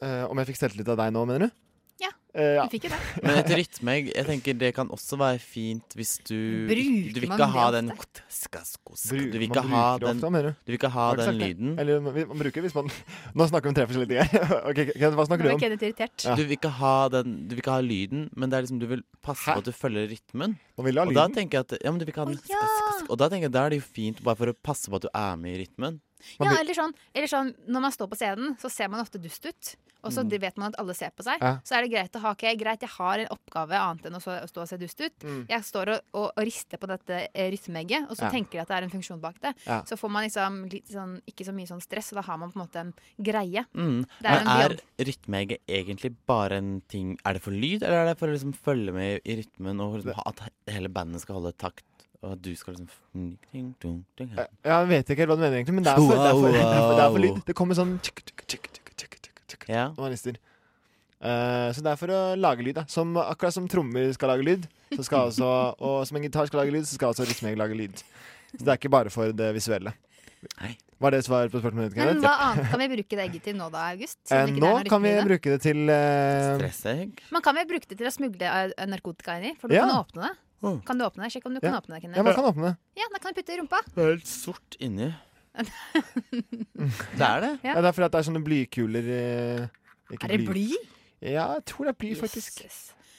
Speaker 18: Eh, om jeg fikk selvtillit av deg nå, mener du?
Speaker 13: Ja,
Speaker 18: Eh, ja.
Speaker 13: du fikk jo det.
Speaker 14: Men et rytmeegg, jeg tenker det kan også være fint hvis du
Speaker 13: Bruker
Speaker 14: Du vil
Speaker 13: man
Speaker 14: ikke ha
Speaker 13: det
Speaker 14: den
Speaker 13: ofte?
Speaker 14: Ska, sko, ska.
Speaker 18: Bru-
Speaker 14: Du vil ikke
Speaker 18: man
Speaker 14: ha
Speaker 18: bruker det
Speaker 14: den
Speaker 18: ofte, mener du?
Speaker 14: Du vil ikke ha
Speaker 18: Har ikke
Speaker 14: den
Speaker 18: sagt det?
Speaker 14: lyden.
Speaker 18: Eller man man bruker hvis man Nå snakker vi om tre forskjellige ting her. Ok, Kenneth, hva snakker du om? Ja.
Speaker 14: Du vil ikke ha den Du vil ikke ha lyden, men det er liksom du vil passe på at du følger rytmen.
Speaker 18: vil du ha
Speaker 14: Og da
Speaker 18: lyden.
Speaker 14: tenker jeg at Ja, men du vil ikke ha den ska,
Speaker 13: Ah.
Speaker 14: ska, ska. Og da tenker jeg da er det jo fint bare for å passe på at du er med i rytmen.
Speaker 13: Ja, eller sånn, eller sånn Når man står på scenen, så ser man ofte dust ut. Og så
Speaker 14: Mm.
Speaker 13: vet man at alle ser på seg.
Speaker 14: Ja.
Speaker 13: Så er det greit å ha ok, greit, jeg har en oppgave annet enn å stå, å stå og se dust ut.
Speaker 21: Mm.
Speaker 13: Jeg står og, og, og rister på dette eh, rytmeegget, og så
Speaker 21: Ja.
Speaker 13: tenker jeg at det er en funksjon bak det.
Speaker 14: Ja.
Speaker 13: Så får man liksom litt sånn, ikke så mye sånn stress, og da har man på en måte en greie.
Speaker 14: Mm.
Speaker 13: Det er
Speaker 14: Men
Speaker 13: en
Speaker 14: er
Speaker 13: jobb.
Speaker 14: rytmeegget egentlig bare en ting Er det for lyd, eller er det for å liksom følge med i rytmen, og liksom, ha- at he- hele bandet skal holde takt, og at du skal liksom ding, ding, ding, ding.
Speaker 18: Eh, Ja, jeg vet ikke helt hva du mener, egentlig, men det er for, det er for, det er for, det er for lyd. Det kommer sånn tsk, tsk, tsk, tsk, tsk, tsk, tsk,
Speaker 14: Ja.
Speaker 18: når man rister. Eh, så det er for å lage lyd. Da. Som, akkurat som trommer skal lage lyd, så skal altså, og som en gitar skal lage lyd, så skal altså rytmeegg lage lyd. Så det er ikke bare for det visuelle. Var det svar på spørsmålet ditt?
Speaker 13: Men
Speaker 18: Kenneth?
Speaker 13: hva annet kan vi bruke det egget til nå da, August?
Speaker 18: Eh,
Speaker 13: Siden det ikke
Speaker 18: nå
Speaker 13: er noe
Speaker 18: kan vi
Speaker 13: rytme i det?
Speaker 18: bruke det til uh,
Speaker 14: Stressegg?
Speaker 13: Man kan vel bruke det til å smugle eh, narkotika inn i, for du
Speaker 18: Ja.
Speaker 13: kan åpne det.
Speaker 14: Mm.
Speaker 13: Kan du åpne det? Sjekk om du
Speaker 18: Ja.
Speaker 13: kan åpne det, Kenneth.
Speaker 18: Ja, man kan åpne det.
Speaker 13: Ja, da kan du putte det i rumpa.
Speaker 14: Det er helt sort inni. det er det.
Speaker 13: Ja.
Speaker 18: Ja, det er fordi at det er sånne blykuler eh, ikke
Speaker 13: Er det bly?
Speaker 18: Ja, jeg tror det er bly, faktisk.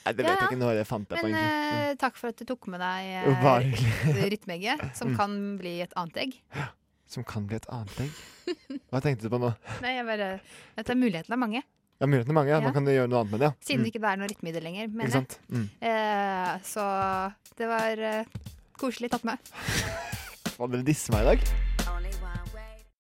Speaker 18: Nei,
Speaker 13: Ja,
Speaker 18: det vet
Speaker 13: ja.
Speaker 18: jeg ikke når jeg fant det på,
Speaker 13: Men
Speaker 18: egentlig.
Speaker 13: eh, takk for at du tok med deg
Speaker 18: Jo,
Speaker 13: eh,
Speaker 18: bare hyggelig.
Speaker 13: rytmeegget, som
Speaker 18: Mm.
Speaker 13: kan bli et annet egg.
Speaker 18: Som kan bli et annet egg. Hva tenkte du på nå?
Speaker 13: Nei, jeg bare Dette er muligheten av mange.
Speaker 18: Ja, Mulighetene er mange. Ja.
Speaker 13: Ja.
Speaker 18: Man kan gjøre noe annet med det. ja.
Speaker 13: Siden
Speaker 18: Mm.
Speaker 13: det ikke er noe rytme i det lenger, mener
Speaker 18: Ikke sant?
Speaker 13: jeg.
Speaker 18: Mm.
Speaker 13: Eh, så det var eh, koselig tatt med.
Speaker 18: Faen, dere disser meg i dag.